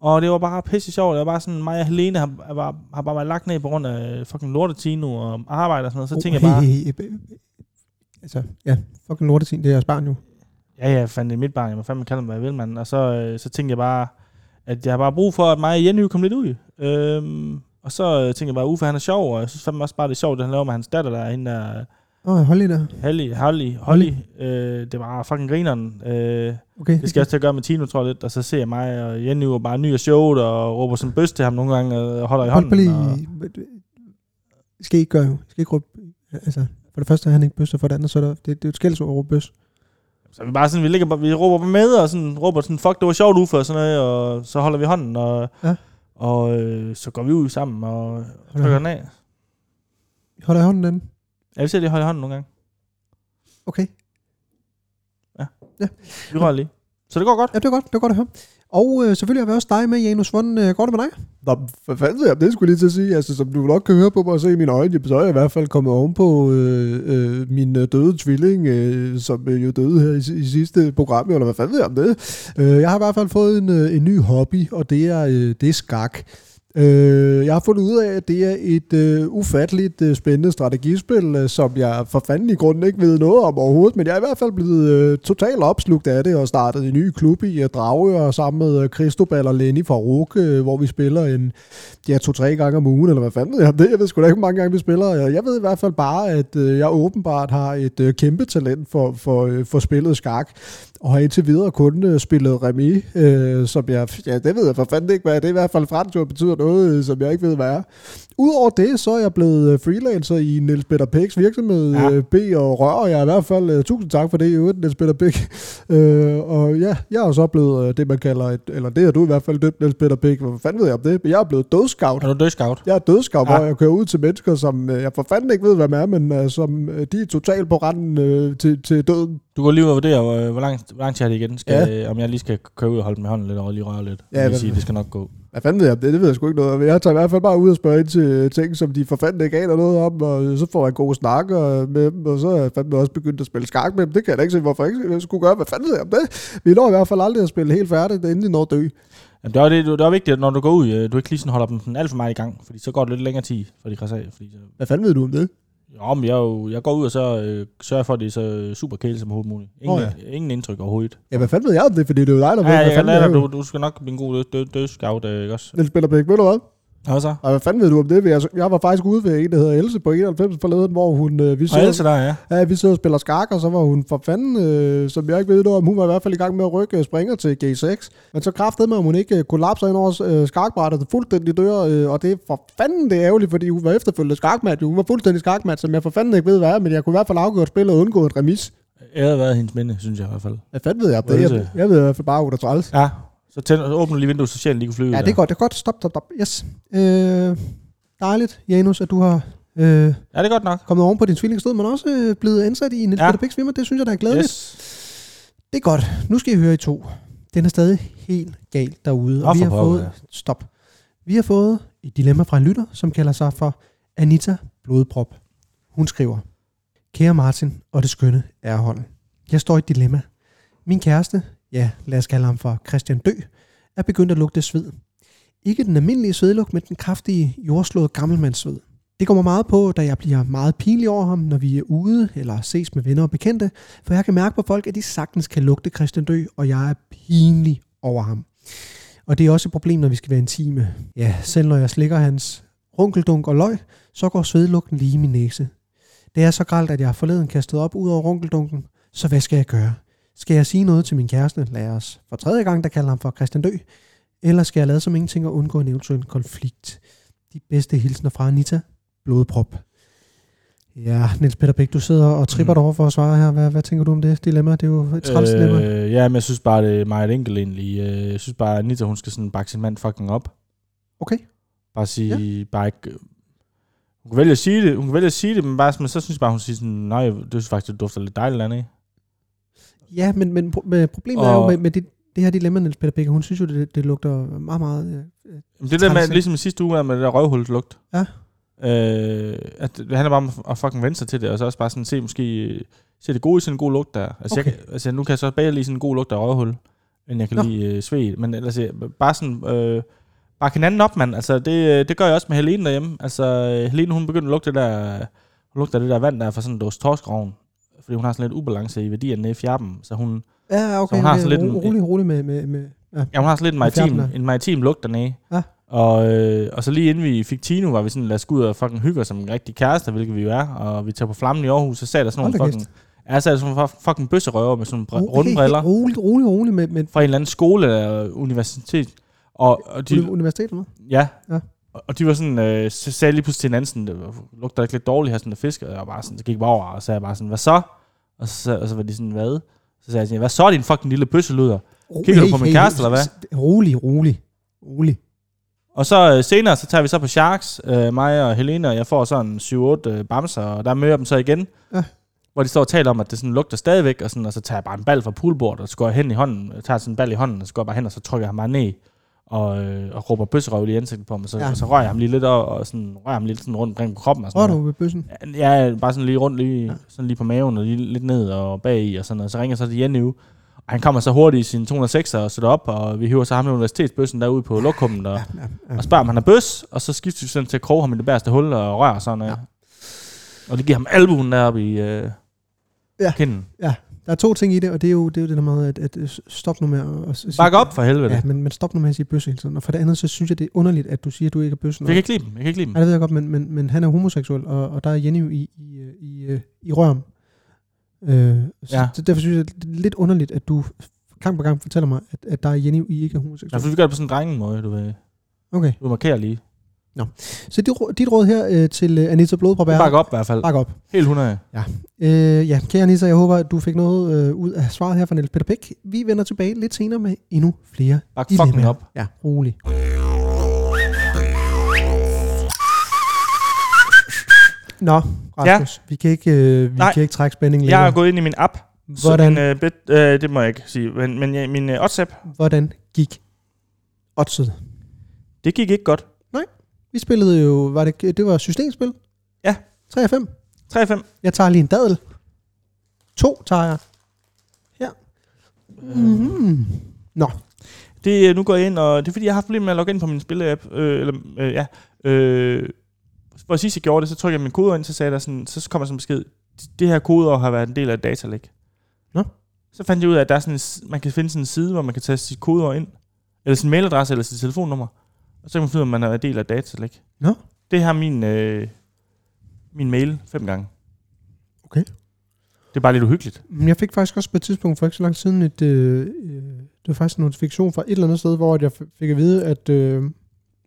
Og det var bare pisse sjovt. Det var bare sådan, mig og Helene har, har, bare, har bare været lagt ned på grund af fucking lortetino og arbejde og sådan noget. Så tænker jeg bare,
Hey, hey, hey. Altså, ja, fucking lortetin, det er jeres barn jo.
Ja, ja, fandt det mit barn. Jeg må fandme kalde mig, hvad jeg vil, mand. Og så, øh, så tænkte jeg bare, at jeg har bare brug for, at mig og Jenny kom lidt ud. Øhm, og så øh, tænkte jeg bare, Uffe han er sjov, og jeg synes fandme også bare, det er sjovt, det han laver med hans datter, der er hende der,
Åh, oh, hold lige der.
Halli, Halli, Holly. Øh, det var fucking grineren. Øh,
Okay.
det skal jeg også til at gøre med Tino, tror jeg lidt. Og så ser jeg mig og Jenny jo bare ny og sjovt, og råber som bøs til ham nogle gange, og holder i
Hold på
hånden.
lige...
og-
Skal I ikke gøre jo. Skal I ikke råbe... Altså, for det første er han ikke bøs, og for det andet, så er der, det, det er jo et skældsord at råbe bøs.
Så vi bare sådan, vi, ligger, bare- vi råber med, og sådan, råber sådan, fuck, det var sjovt Uffe, og sådan noget, og så holder vi hånden, og,
Ja.
og øh, så går vi ud sammen, og trykker den af.
Holder i hånden den?
Ja, vi ser lige holde i hånden nogle gange.
Okay.
Vi rører lige. Så det går godt.
Ja, det var godt, det var godt at høre. Og øh, selvfølgelig har vi også dig med, Janus. Hvordan øh, går det med dig?
Nå, hvad fanden ved jeg, det skulle jeg lige til at sige. Altså, som du nok kan høre på mig og se i mine øjne, så er jeg i hvert fald kommet ovenpå øh, øh, min øh, døde tvilling, øh, som øh, jo døde her i, si- i sidste program, eller hvad fanden ved jeg om det? Øh, jeg har i hvert fald fået en, øh, en ny hobby, og det er, øh, det er skak. Øh, jeg har fundet ud af, at det er et øh, ufatteligt øh, spændende strategispil, øh, som jeg for fanden i grunden ikke ved noget om overhovedet, men jeg er i hvert fald blevet øh, totalt opslugt af det og startet en ny klub i øh, Dragør sammen med øh, Cristobal og Lenny fra Ruk, øh, hvor vi spiller en ja, to-tre gange om ugen, eller hvad fanden ved jeg det? Jeg ved sgu da ikke, hvor mange gange vi spiller. Jeg jeg ved i hvert fald bare, at øh, jeg åbenbart har et øh, kæmpe talent for, for, øh, for spillet skak, og har indtil videre kun øh, spillet remi, øh, som jeg, ja, det ved jeg for fanden ikke, hvad er. det er i hvert fald fransk, hvor det betyder noget, øh, som jeg ikke ved, hvad er. Udover det, så er jeg blevet øh, freelancer i Niels Peter Piks virksomhed,
Ja.
ja. øh, B og Rør, og jeg er i hvert fald, øh, tusind tak for det i øvrigt, Niels Peter Pik. Øh, og ja, jeg er jo så blevet øh, det, man kalder, et, eller det er du i hvert fald døbt, Niels Peter Pik, hvad fanden ved jeg om det, men jeg er blevet dødscout.
Er du dødscout?
Jeg er dødskab,
Ja.
ja. hvor jeg kører ud til mennesker, som øh, jeg for fanden ikke ved, hvad man er, men øh, som øh, de er totalt på randen øh, til, til døden.
Du går lige ud og vurderer, øh, hvor langt, hvor langt jeg har det igen. Skal, ja. Om jeg lige skal køre ud og holde med hånden lidt og lige røre lidt.
Ja,
Ja, lige
hvad-
sige, det skal nok gå.
Hvad fanden ved jeg om det? Det ved jeg sgu ikke noget om. Jeg tager i hvert fald bare ud og spørger ind til øh, ting, som de for fanden ikke aner noget om, og øh, så får jeg gode snakker øh, med dem, og så er jeg fandme også begyndt at spille skak med dem. Det kan jeg da ikke se, hvorfor jeg ikke jeg skulle gøre. Hvad fanden ved jeg om det? Vi når i hvert fald aldrig at spille helt færdigt, inden de når at dø.
Jamen, det, er, jo det, det er jo vigtigt, at når du går ud, øh, du ikke lige sådan holder dem sådan alt for meget i gang, fordi så går det lidt længere tid, for de krasser af. Fordi, så,
Hvad fanden ved du om det?
jo, men jeg, er jo, jeg går ud og så øh, sørger for, at det er så super kæle som overhovedet muligt. Ingen,
Åh,
oh, ja. ingen indtryk overhovedet.
Ja, hvad fanden ved jeg om det? Fordi det er jo dig,
Ja,
der hvad
jeg kan
fanden
lade dig,
det er.
du, du skal nok blive en god død- død- dødscout, øh, ikke også?
Niels Peter Bæk, ved du hvad?
Hvad så?
Og hvad fanden ved du om det? Jeg- Jeg var faktisk ude ved en, der hedder Else på 91 forleden, hvor hun... øh, Vi
Og
så-
Else der, ja.
Ja, vi sidder og spiller skak, og så var hun for fanden, øh, som jeg ikke ved noget om, hun var i hvert fald i gang med at rykke øh, springer til G6. Men så kræftede med, om hun ikke øh, kollapser ind over øh, skakbrættet fuldstændig dør, øh, og det er for fanden det er ærgerligt, fordi hun var efterfølgende skakmat. jo. Hun var fuldstændig skakmat, som jeg for fanden ikke ved, hvad er, men jeg kunne i hvert fald afgøre spillet og undgå et remis.
Æret været hendes minde, synes jeg i hvert fald.
Hvad fanden ved jeg om
Hvad
det?
er
Jeg,
det?
jeg ved i hvert fald bare, at hun er træls.
Ja. Så tænd, åbner lige vinduet, så sjælen lige kan flyve.
Ja,
ud
det er godt, det er godt. Stop, stop, stop. Yes. Øh, dejligt, Janus, at du har øh,
der. Ja, det er godt nok.
kommet oven på din tvillingstød, men også øh, blevet ansat i Niels ja.
Ja.
Peter Piks firma. Det synes jeg, der er glædeligt. Yes. Det er godt. Nu skal I høre i to. Den er stadig helt galt derude.
Nå,
vi
for
har
pokker,
fået...
ja.
Stop. Vi har fået et dilemma fra en lytter, som kalder sig for Anita Blodprop. Hun skriver, Kære Martin og det skønne Erholm, jeg står i et dilemma. Min kæreste, ja, lad os kalde ham for Christian Dø, er begyndt at lugte sved. Ikke den almindelige svedlugt, men den kraftige, jordslåede gammelmandssved. Det kommer meget på, da jeg bliver meget pinlig over ham, når vi er ude eller ses med venner og bekendte, for jeg kan mærke på folk, at de sagtens kan lugte Christian Dø, og jeg er pinlig over ham. Og det er også et problem, når vi skal være intime. Ja, selv når jeg slikker hans runkeldunk og løg, så går svedlugten lige i min næse. Det er så galt, at jeg har forleden kastet op ud over runkeldunken, så hvad skal jeg gøre? Skal jeg sige noget til min kæreste, lad os for tredje gang, der kalder ham for Christian Dø, eller skal jeg lade som ingenting og undgå en eventuel konflikt? De bedste hilsner fra Anita, blodprop. Ja, Niels Peter Bæk, du sidder og tripper
Mm.
dig over for at svare her. Hvad, hvad tænker du om det dilemma? Det er jo et træls dilemma.
Øh, ja, men jeg synes bare, det er meget enkelt egentlig. Øh, Jeg synes bare, at Anita, hun skal sådan bakke sin mand fucking op.
Okay.
Bare sige, ja. bare ikke... øh, Hun kan vælge at sige det, hun kan vælge at sige det, men, bare, men så synes jeg bare, hun siger sådan, nej, det synes faktisk, det dufter lidt dejligt eller andet, ikke?
Ja, men, men pro- men problemet og... er jo
Og-
med, med det, det her dilemma, Niels Peter Bæk, hun synes jo, det, det lugter meget, meget... øh, øh,
Men det der med,
Træls, ikke?
ligesom i sidste uge med det der røvhulslugt.
Ja.
Øh, at det handler bare om at fucking vende sig til det, og så også bare sådan se måske, øh, se det gode i sådan en god lugt der. Altså, okay. jeg, kan- altså nu kan jeg så bedre lide sådan en god lugt af røvhul, end jeg kan
Nå.
Nå. lide øh, sved. Men ellers, øh, bare sådan, øh, bare hinanden op, mand. Altså, det, øh, det gør jeg også med Helene derhjemme. Altså, øh, Helene, hun begyndte at lugte det der, hun lugter det der vand, der er fra sådan en dåse torskroven. Fordi hun har sådan lidt ubalance i værdierne nede i fjerben. Så hun,
Ja, okay.
hun har
okay,
sådan lidt en-
ro- rolig, rolig med... med, med ja.
Ja, hun har sådan lidt en
Fjerten
maritim,
der.
en maritim lugt dernede.
Ja.
Og, øh, og så lige inden vi fik Tino, var vi sådan, lad os gå ud og fucking hygge os som en rigtig kæreste, hvilket vi jo er. Og vi tager på flammen i Aarhus, så sad der sådan
Hold da
nogle fucking... Ja, så er der sådan nogle fucking bøsserøver med sådan nogle
Rolig,
br- runde briller
Rolig, rolig, rolig med, med
fra en eller anden skole eller universitet. Og, og de,
uni- universitet eller noget.
ja,
Ja.
Og- og de var sådan, øh, så sagde jeg lige pludselig til hinanden, sådan, det lugter ikke lidt dårligt her, sådan der fisk, og jeg var bare sådan, så gik jeg bare over, og så sagde jeg bare sådan, hvad så? Og så, og så var de sådan, hvad? Så sagde jeg sådan, hvad så din fucking lille bøsseluder? Kigger du på min kæreste, eller hvad?
s- Rolig, rolig, rolig.
Og så øh, senere, så tager vi så på Sharks, øh, mig og Helene, og jeg får sådan 7-8 øh, bamser, og der møder jeg dem så igen.
Ja.
Ja. Hvor de står og taler om, at det sådan lugter stadigvæk, og, sådan, og så tager jeg bare en bal fra poolbordet, og så går jeg hen i hånden, jeg tager sådan en bal i hånden, og så går jeg bare hen, og så trykker jeg ham bare ned, og, øh, og råber bøsserøv lige i ansigtet på ham, og så,
Ja.
ja. og så rører jeg ham lige lidt, og, og sådan, rører ham lige sådan rundt omkring på kroppen. Og sådan
Rør
noget.
du ved bøssen?
Ja, bare sådan lige rundt, lige,
Ja.
ja. sådan lige på maven, og lige lidt ned og bag i og sådan noget. Så ringer jeg så til Jenny ud, og han kommer så hurtigt i sin 206'er og sætter op, og vi hiver så ham med universitetsbøssen derude på lokummen, og,
Ja, ja.
og spørger, om han er bøs, og så skifter vi sådan til at kroge ham i det bæreste hul og røre sådan noget.
Ja.
Ja. Og det giver ham albuen deroppe i øh,
Ja.
ja. kinden.
Der er to ting i det, og det er jo det, er jo det der med, at, at øh, stop nu med at... at sige-
Bak op for helvede.
Ja,
Ja.
men, men stop nu med at sige bøsse hele tiden. Og for det andet, så synes jeg, det er underligt, at du siger, at du ikke er bøsse.
Jeg kan ikke lide dem. Jeg kan ikke lide dem.
Ja, det ved jeg godt, men, men, men han er homoseksuel, og, og der er Jenny jo i, i, øh, i, øh, i røven. Øh, så
Ja.
ja. derfor synes jeg, det er lidt underligt, at du gang på gang fortæller mig, at, at der er Jenny i ikke er
Ja,
homoseksuel.
for vi gør det på sådan en drengemåde, du ved.
Okay,
Du markerer lige.
så dit, rå- dit råd her øh, til øh, Anita Blodprop er...
Bak op i hvert fald.
Bak op.
Helt 100.
Øh, ja, kære Anita, jeg håber, at du fik noget øh, ud af svaret her fra Niels Peter Pick. Vi vender tilbage lidt senere med endnu flere
Bak
dilemmaer.
fucking op.
Ja, rolig. Nå, Rasmus, ja. vi, kan ikke, øh, vi
Nej.
kan ikke trække spændingen
Jeg er
længere.
gået ind i min app.
Hvordan?
Så min, øh, bit, øh, det må jeg ikke sige. Men, men ja, min øh, WhatsApp,
Hvordan gik oddset?
det gik ikke godt.
Vi spillede jo, var det, det var systemspil?
Ja.
3 af 5.
3-5.
Jeg tager lige en dadel. To tager jeg. Her. Mm-hmm. Nå,
Det, øh, nu går jeg ind, og det er fordi, jeg har haft problemer med at logge ind på min spilleapp. Øh, eller, øh, ja. Øh, for sidst jeg gjorde det, så trykkede jeg min kode ind, så sagde der sådan, så kommer sådan en besked, det her kodeord har været en del af et datalæk.
Nå.
Så fandt jeg ud af, at der er sådan en, s- man kan finde sådan en side, hvor man kan tage sit kodeord ind, eller sin mailadresse, eller sit telefonnummer, og så kan man finde ud af, om man er en del af et datalæk.
Nå.
Det har min, øh, min mail fem gange.
Okay.
Det er bare lidt uhyggeligt.
Men Jeg fik faktisk også på et tidspunkt for ikke så lang tid siden et, øh, øh, det var faktisk en notifikation fra et eller andet sted, hvor at jeg f- fik at vide, at, øh,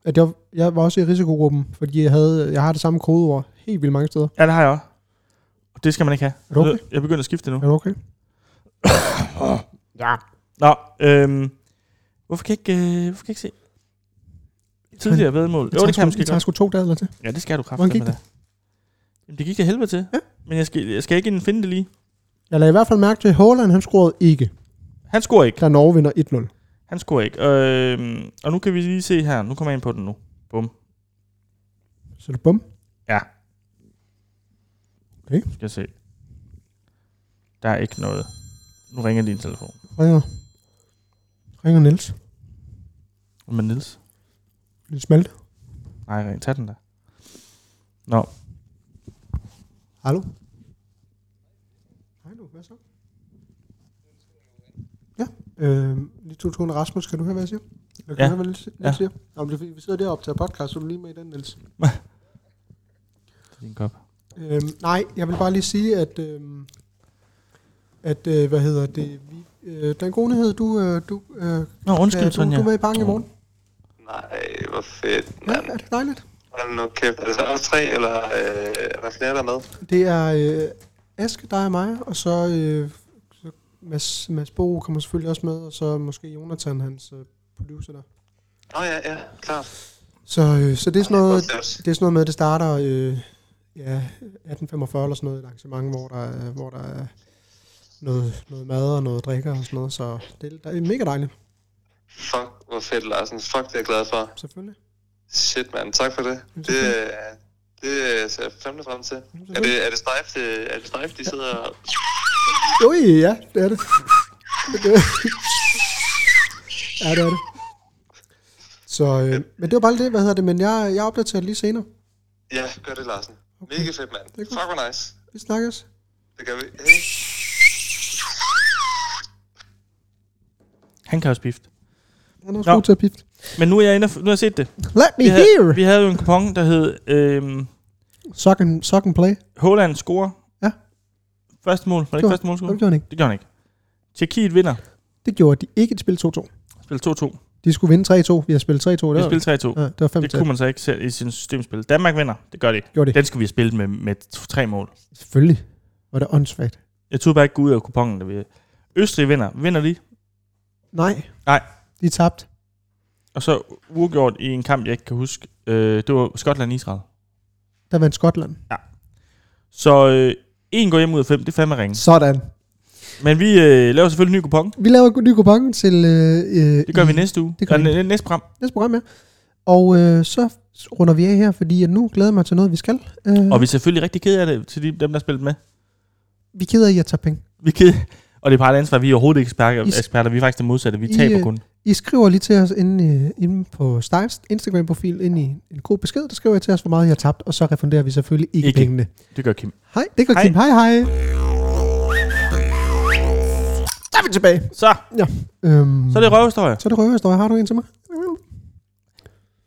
at jeg, jeg var også i risikogruppen, fordi jeg, havde, jeg har det samme kodeord helt vildt mange steder.
Ja, det har jeg også. Og det skal man ikke have.
Er du okay?
Jeg begynder at skifte nu.
Er du okay?
Ja. Nå, øhm, hvorfor kan jeg ikke, øh, hvorfor kan jeg ikke se? Tidligere vedmål. Jo, det kan jeg måske
Jeg tager
godt.
sgu to dage eller til.
Ja, det skal du kraftigt.
Hvordan gik det?
Jamen, det gik det helvede til.
Ja.
Men jeg skal, jeg skal ikke inden finde det lige.
Jeg lagde i hvert fald mærke til, at Haaland han scorede ikke,
Han scorer ikke.
da Norge vinder 1-0.
Han scorer ikke. Øhm, og nu kan vi lige se her. Nu kommer jeg ind på den nu.
Så det bum.
Nu skal jeg se. Der er ikke noget. Nu ringer din telefon.
Ringer. Ringer Niels.
Men Nils?
Lidt smalt.
Nej, ring. Tag den der. Nå,
Hallo? Hej nu, hvad så? Ja, øh, lige to toner. Rasmus, kan du høre, hvad jeg siger? Eller
Ja.
kan du høre, hvad Niels, Niels ja. siger? Nå, men det er fordi, vi sidder deroppe og optager podcast, så er du lige med i den, Niels.
det er din kop.
Øhm, nej, jeg vil bare lige sige, at, øhm, at øh, hvad hedder det, vi, øh, den gode nyhed, du, øh, du, øh,
Nå, undskyld,
ja,
ja,
du,
Sonja.
du er med i banken i morgen.
Nej, hvor fedt,
Ja,
mand.
er det ikke dejligt?
Hold nu kæft. Er det så også tre, eller øh, er der flere, der er med?
Det er øh, Aske, dig og mig, og så, øh, så Mads, Mads Bo kommer selvfølgelig også med, og så måske Jonathan, hans øh, producer der.
Nå ja, ja, klart.
Så, øh, så det, er sådan noget,
Godt set.
det er sådan noget med, at det starter øh, ja, 18.45 eller sådan noget, et arrangement, hvor der, er- hvor der er noget, noget mad og noget drikker og sådan noget, så det, det er mega dejligt,
Fuck, hvor fedt, Larsen. Fuck, det er jeg glad for.
selvfølgelig.
Shit, mand. Tak for det.
Jamen,
Det, øh, det øh, ser jeg fandme frem til. Er det, er det Strife, det, er det Strife, de sidder og...
Ui, ja, det er det. Det er- ja, det er det. Så, øh, men det var bare lige det, hvad hedder det, men jeg, jeg opdaterer lige senere.
Ja, gør det, Larsen.
Okay.
Mega fedt, mand.
er godt.
Fuck, hvor nice.
Vi snakkes.
Det gør vi. Hey.
Han kan også pifte.
Han er også
Nå.
god til at pifte.
Men nu er jeg inde og, nu har jeg set det.
Let me
Vi havde,
hear!
vi havde jo en kupon, der hed øhm,
Suck and, suck and play.
Holland scorer.
Ja.
Første mål. Var det
Det
ikke
var-
første mål?
Det gjorde han ikke.
Det gjorde han ikke. Tjekkiet vinder.
Det gjorde de ikke et spil 2-2.
Spil 2-2.
De skulle vinde 3-2. Vi har spillet 3-2.
Vi
Det, var,
spillede 3-2.
ja, det var 5
Det kunne man så ikke selv i sin systemspil. Danmark vinder. Det gør det.
Gjorde det.
Den skulle vi have spillet med, med t- tre mål.
Selvfølgelig. Var det åndssvagt.
Jeg tog bare ikke gå ud af kupongen. Da vi... Østrig vinder. Vinder de.
Nej.
Nej.
De tabte.
Og så uafgjort i en kamp, jeg ikke kan huske. Øh, det var Skotland-Israel.
Der vandt Skotland.
Mm. Så øh, en går hjem ud af fem. Det er fandme ringe.
Sådan.
Men vi øh, laver selvfølgelig en ny kupon.
Vi laver en ny kupon til... Øh, øh,
Det gør
i
vi næste uge.
det gør vi.
Eller, næ- næste program.
Næste program, ja. Og øh, så runder vi af her, fordi jeg nu glæder jeg mig til noget, vi skal. Øh,
Og vi er selvfølgelig rigtig kede af det til de, dem, der har spillet med.
vi keder i at tage penge.
Vi er kede. Og det er bare et ansvar. Vi er overhovedet ikke eksperter.
I s-
eksperter. Vi er faktisk det modsatte. Vi
I,
taber
øh,
kun.
I skriver lige til os inde, øh, inde på Stars Instagram-profil, ind i en god besked, der skriver I til os, hvor meget I har tabt, og så refunderer vi selvfølgelig ikke,
Ikke.
ikke. pengene.
Det gør Kim.
Hej, det går
Hej.
Kim. Hej, hej. Så er vi tilbage.
Så,
Øhm,
så er det røvhistorie.
Så er det røverhistorie. Har du en til mig?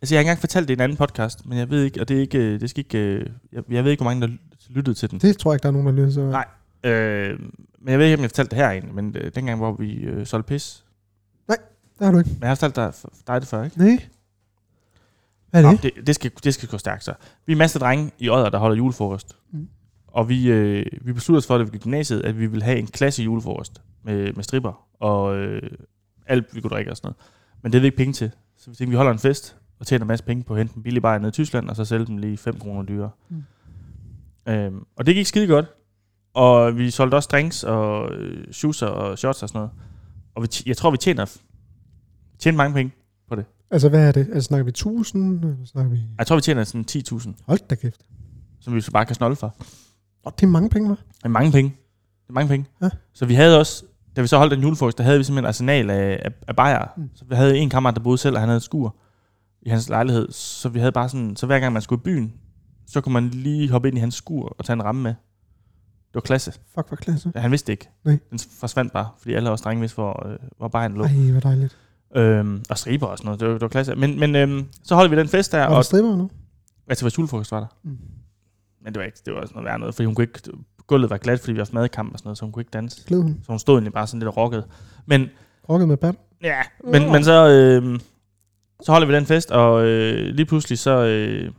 Altså, jeg har ikke engang fortalt det i en anden podcast, men jeg ved ikke, og det er ikke, øh, det skal ikke, øh, jeg, jeg ved ikke, hvor mange, der lyttede til den.
Det tror jeg ikke, der er nogen, der lytter til.
Nej. Øh, men jeg ved ikke, om jeg fortalte det her egentlig, men øh, dengang, hvor vi øh, solgte pis.
Det har du ikke.
Men jeg har fortalt dig, dig det før, ikke?
Nej. Hvad er det?
Nå, det, det, skal, det skal gå stærkt, så. Vi er en masse drenge i Odder, der holder julefrokost.
Mm.
Mm. Og vi, øh, vi besluttede os for, da vi gik i gymnasiet, at vi ville have en klasse julefrokost med, med stripper og øh, alt, vi kunne drikke og sådan noget. Men det havde vi ikke penge til. Så vi tænkte, vi holder en fest og tjener en masse penge på at hente en billig bajer ned i Tyskland, og så sælge dem lige 5 kroner dyrere. Mm. Øhm, og det gik skide godt. Og vi solgte også drinks og øh, shoeser og shots og sådan noget. Og vi, tj- jeg tror, vi tjener, tjener mange penge.
Altså, hvad er det? Altså, snakker vi 1000? Eller snakker vi...
Jeg tror, vi tjener sådan 10.000.
Hold da kæft.
som vi så bare kan snolde for.
Og det er mange penge, hva'?
Det er mange penge. Det er mange penge.
Ja.
Ja. Så vi havde også, da vi så holdt den julefrokost, der havde vi simpelthen arsenal af, af, af bajer.
Mm.
Mm. Så vi havde en kammerat, der boede selv, og han havde et skur i hans lejlighed. Så vi havde bare sådan, så hver gang man skulle i byen, så kunne man lige hoppe ind i hans skur og tage en ramme med. Det var klasse.
Fuck, hvor klasse.
Han vidste det ikke.
Nej.
Den forsvandt bare, fordi alle os drenge vidste, hvor, øh, hvor bajeren lå.
Ej, hvor dejligt.
Øhm, og striber og sådan noget. Det var, det var klasse. Men, men øhm, så holdt vi den fest der,
Var
og
der stripper nu?
Altså, vores julefrokost var der.
Mm.
Mm. Men det var ikke, det var sådan noget værd noget, fordi hun kunne ikke, gulvet var glat, fordi vi havde haft madkamp og sådan noget, så hun kunne ikke danse.
Glæder hun.
Så hun stod egentlig bare sådan lidt og rockede. Men,
Rokket med bat.
ja, men,
Mm.
men så, øh, så holder vi den fest, og øh, lige pludselig så, øh,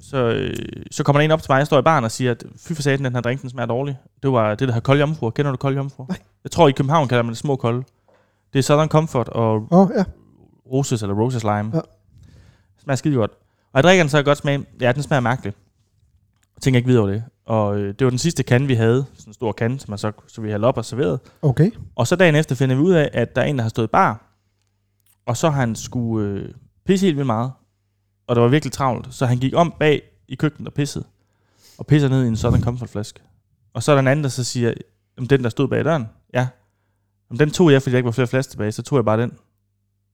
så, øh, så kommer der en op til mig, jeg står i baren og siger, at fy for satan, den her drink, den smager dårlig. Det var det, der hedder kold jomfru. Kender du kold jomfru?
Nej.
Jeg tror, i København kalder man det små kolde. Det er Southern Comfort og
Åh, oh, ja.
roses eller roses lime.
Ja.
Ja. Smager skide godt. Og jeg drikker den så godt smag. Ja, den smager mærkeligt. Jeg tænker ikke videre over det. Og øh, det var den sidste kan, vi havde. Sådan en stor kan, som man så, så vi hældte op og serverede.
Okay.
Og så dagen efter finder vi ud af, at der er en, der har stået i bar. Og så har han skulle øh, pisse helt vildt meget. Og det var virkelig travlt. Så han gik om bag i køkkenet og pissede. Og pisser ned i en sådan comfortflaske. Og så er der en anden, der så siger, "Jamen, den der stod bag døren, ja, Jamen, Men den tog jeg, fordi der ikke var flere flasker tilbage, så tog jeg bare den.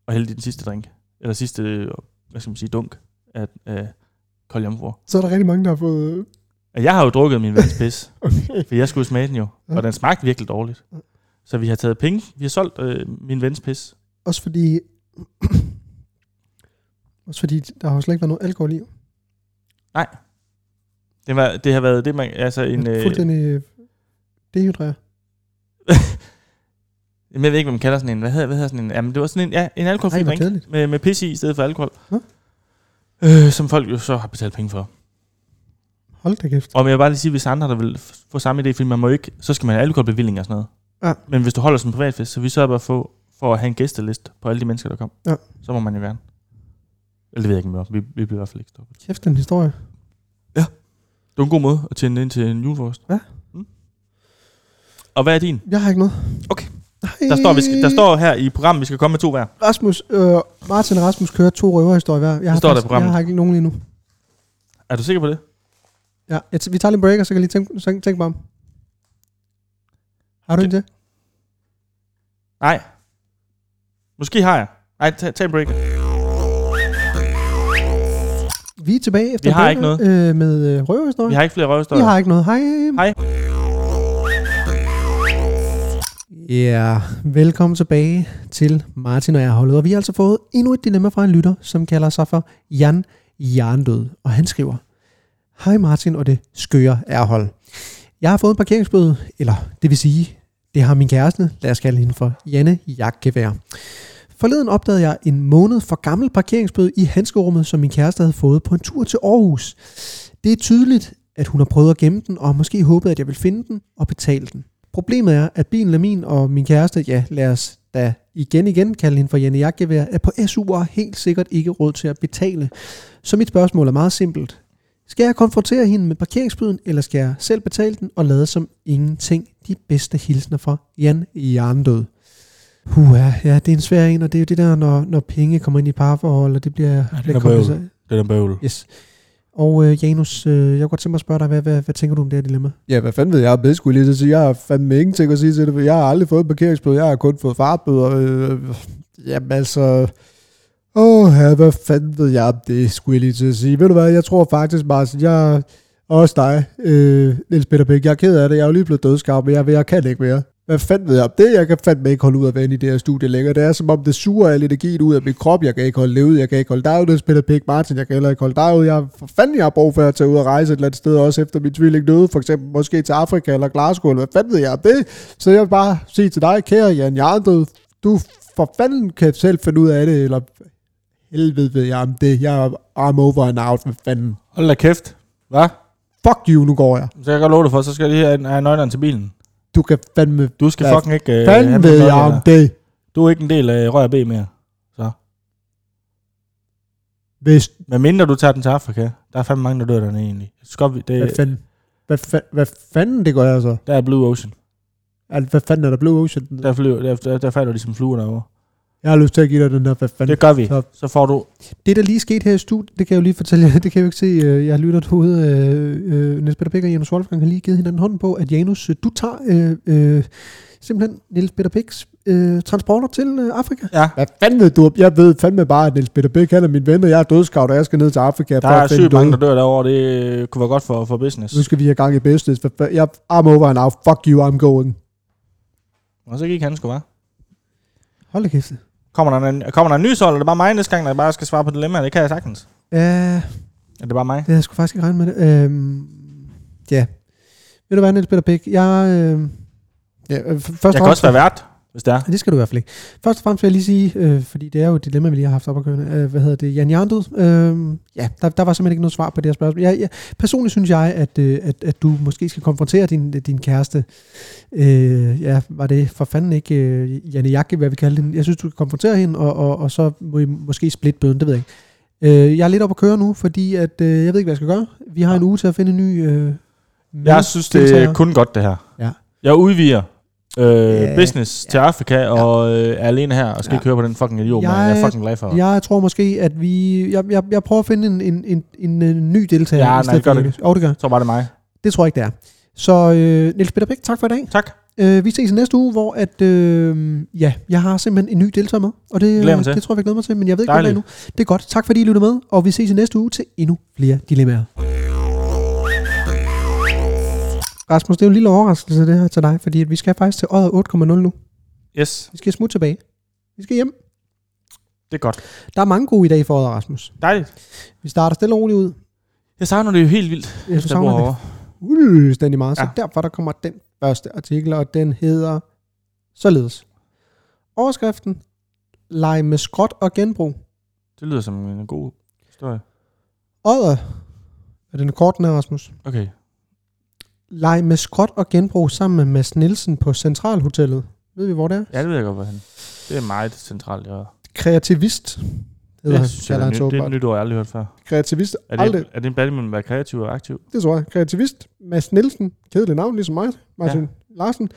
Og hældte i den sidste drink. Eller sidste, øh, hvad skal man sige, dunk af øh, kold jomfru.
Så er der rigtig mange, der har fået...
Og Jeg har jo drukket min vens pis,
Okay.
for jeg skulle smage den jo.
Ja.
Og den smagte virkelig dårligt.
Ja.
Så vi har taget penge. Vi har solgt øh, min vens pis.
Også fordi... også fordi, der har jo slet ikke været noget alkohol i.
Det, var, det har været det, man... Altså en...
En,
Øh,
fuldstændig øh, dehydreret.
Jamen, jeg ved ikke, hvad man kalder sådan en. Hvad hedder, hvad hedder sådan en? Jamen, det var sådan en, ja, en alkoholfri
Ej, hvor
drink
kedeligt.
med, med pis i, i stedet for alkohol.
Nå.
Øh, som folk jo så har betalt penge for.
Hold da kæft.
Og men jeg vil bare lige sige, hvis andre der vil f- få samme idé, fordi man må jo ikke, så skal man have alkoholbevilling og sådan noget.
Ja.
Men hvis du holder som privatfest, så vi sørger bare for, for at have en gæsteliste på alle de mennesker, der kom.
Ja.
Så må man jo gerne. Eller det ved jeg ikke, om vi må. vi, vi bliver i hvert fald ikke stoppet.
Kæft, den historie.
Det var en god måde at tjene ind til en julefrokost.
Ja.
Mm. Og hvad er din?
Jeg har ikke noget.
Okay.
Nej.
Der står, vi skal, der står her i programmet, vi skal komme med to hver.
Rasmus, øh, Martin og Rasmus kører to røverhistorier hver. Jeg har,
står der i
faktisk-
programmet.
Jeg har ikke nogen lige nu.
Er du sikker på det?
Ja, jeg t- vi tager lige en break, og så kan jeg lige tænke, tænke, tænke mig om. Har du
Det-
ikke det?
Nej. Måske har jeg. Nej, tag, tag en break.
Vi er tilbage efter
Vi har
breaket,
ikke noget.
Øh, med øh, røverhistorier.
Vi har ikke flere
Vi
røvstøjer.
har ikke noget. Hej.
Hej.
Ja, velkommen tilbage til Martin og jeg holdet. Og vi har altså fået endnu et dilemma fra en lytter, som kalder sig for Jan Jarndød. Og han skriver, Hej Martin og det skøre ærhold. Jeg har fået en parkeringsbøde, eller det vil sige, det har min kæreste, lad os kalde hende for Janne Jagtgevær. Forleden opdagede jeg en måned for gammel parkeringsbøde i handskerummet, som min kæreste havde fået på en tur til Aarhus. Det er tydeligt, at hun har prøvet at gemme den, og har måske håbet, at jeg vil finde den og betale den. Problemet er, at bilen er min, og min kæreste, ja, lad os da igen igen kalde hende for Janne Jagtgevær, er på SU og har helt sikkert ikke råd til at betale. Så mit spørgsmål er meget simpelt. Skal jeg konfrontere hende med parkeringsbøden, eller skal jeg selv betale den og lade som ingenting de bedste hilsner fra Jan Jarndød? Huha, ja, det er en svær en, og det er jo det der, når, når penge kommer ind i parforhold, og det bliver... Ja,
er bøvl. Det er bøvl.
Yes. Og øh, Janus, øh, jeg kunne godt tænke mig at spørge dig, hvad, hvad, hvad tænker du om det her dilemma?
Ja, hvad fanden ved jeg om det, skulle jeg lige til at sige. Jeg har fandme ingenting at sige til det, for jeg har aldrig fået parkeringsbøde. Jeg har kun fået fartbøder. Øh, jamen altså... Åh, ja, hvad fanden ved jeg om det, skulle jeg lige til at sige. Ved du hvad, jeg tror faktisk, Martin, jeg... Også dig, øh, Niels Peter Bæk. Jeg er ked af det. Jeg er jo lige blevet dødskarp, men jeg, jeg kan ikke mere. Hvad fanden ved jeg om det? Jeg kan fandme ikke holde ud af være inde i det her studie længere. Det er som om, det suger al energien ud af min krop. Jeg kan ikke holde ud. Jeg kan ikke holde dig ud, Niels Peter Bæk. Martin, jeg kan heller ikke holde dig ud. Jeg, for fanden, jeg har brug for at tage ud og rejse et eller andet sted, også efter min tvilling døde. For eksempel måske til Afrika eller Glasgow. Eller hvad fanden ved jeg om det? Så jeg vil bare sige til dig, kære Jan Jarndød, du for fanden kan selv finde ud af det, eller helvede ved jeg om det. Jeg er I'm over and out, hvad fanden.
Hold da kæft. Hvad?
Fuck you, nu går jeg.
Så kan jeg godt love dig for, så skal jeg lige have, have nøglerne til bilen.
Du kan fandme...
Du skal
Hvad
fucking ikke... øh, have
Fanden
mine
ved jeg
nøgler
om
der.
det.
Du er ikke en del af Rør B mere.
Hvis...
Men mindre du tager den til Afrika, der er fandme mange, der dør dernede egentlig. Skop, det,
Hvad fanden? Hvad, fa- hvad fanden det gør jeg så?
der er Blue Ocean.
Altså, hvad fanden er der Blue Ocean?
Der, flyver, der, der, der falder de som fluer derovre.
Jeg har lyst til at give dig den der, hvad fanden?
Det gør vi.
Så-
Så får du...
Det, der lige skete her i studiet, det kan jeg jo lige fortælle jer, det kan jeg jo ikke se, øh, jeg lytter derude, øh, øh, Niels Peter Pick og Janus Wolfgang har lige givet hinanden hånden på, at Janus, øh, du tager øh, øh, simpelthen Niels Peter Picks øh, transporter til øh, Afrika.
Ja,
Hvad fanden ved du? om- Jeg ved fandme bare, at Niels Peter Bæk, han er min ven, og jeg er dødskavt, og jeg skal ned til Afrika.
der
for
er
at finde
sygt mange,
døde.
der dør derovre. Det øh, kunne være godt for, for business.
Nu skal vi have gang i business. Hvad fa- Jeg I'm over and out. Fuck you, I'm going.
Og så gik han sgu, hva'?
Hold da kæft.
Kommer der, en, kommer der en ny sol, eller er det bare mig næste gang, der bare skal svare på dilemmaer? Det kan jeg sagtens.
Ja,
Er det bare mig?
det havde jeg sgu faktisk ikke regnet med det. Øhm, ja. Ved du hvad, Niels Peter Pick, jeg... Øh, ja, øh, f- først og
Jeg kan
fremmest-
også være vært, hvis det er.
Ja, Det skal du i hvert fald ikke. Først og fremmest vil jeg lige sige, øh, fordi det er jo et dilemma, vi lige har haft op at køre, øh, hvad hedder det, Jan Jarndød, øh, ja, der, der var simpelthen ikke noget svar på det her spørgsmål. Jeg, jeg, personligt synes jeg, at, øh, at, at du måske skal konfrontere din, din kæreste, øh, ja, var det for fanden ikke øh, Janne Jakke, hvad vi kalder den. Jeg synes, du skal konfrontere hende, og, og, og så må I måske splitte bøden, det ved jeg ikke. Øh, jeg er lidt op at køre nu, fordi at, øh, jeg ved ikke, hvad jeg skal gøre. Vi har en uge til at finde en ny... Øh,
Jeg synes, det er
deltager.
kun godt, det her.
Ja.
Jeg udviger øh,
Ja,
business til Afrika, og øh, er alene her, og skal
Ja.
ikke høre på den fucking idiot, jeg,
Jeg-
jeg er fucking glad for. Jeg,
Jeg tror måske, at vi... Jeg, jeg, jeg prøver at finde en, en, en, en, en ny deltager.
Ja, nej,
i stedet
det gør
for
det
Janus. Jo, det gør.
så var det mig.
Det tror jeg ikke, det er. Så øh, Niels Peter Bæk, tak for i dag.
Tak.
øh, vi ses i næste uge, hvor at, øh, ja, jeg har simpelthen en ny deltager med, og det,
Glæder mig
øh,
til.
det tror jeg, vi glæder mig til, men jeg ved ikke, hvad det er
Dejligt.
endnu. Det er godt. Tak fordi I lyttede med, og vi ses i næste uge til endnu flere dilemmaer. Rasmus, det er jo en lille overraskelse det her til dig, fordi at vi skal faktisk til året 8.0 nu.
Yes,
Vi skal smutte tilbage. Vi skal hjem.
det er godt.
Der er mange gode i dag for året, Rasmus.
Dejligt.
Vi starter stille og roligt ud.
Jeg savner det jo helt vildt.
Jeg
Jeg bor
savner det
herovre.
fuldstændig meget. Så
Ja.
derfor der kommer den første artikel, og den hedder således. Overskriften, leg med skråt og genbrug.
Det lyder som en god historie.
Odder, er den kort, den her, Rasmus?
Okay.
Leg med skråt og genbrug sammen med Mads Nielsen på Centralhotellet. Ved vi, hvor det er?
Ja, det ved jeg godt, hvad han... Det er meget centralt. Ja.
Kreativist hedder
Det,
han.
synes jeg,
kalder
er
han
nyt, det
sig
er et
åbenbart.
nyt ord, jeg aldrig har hørt før.
Kreativist.
Er det,
Aldrig.
er det en blanding mellem at være kreativ og aktiv?
Det tror jeg. Kreativist.
Mads Nielsen,
Kedeligt navn, ligesom mig.
Martin ja. Larsen,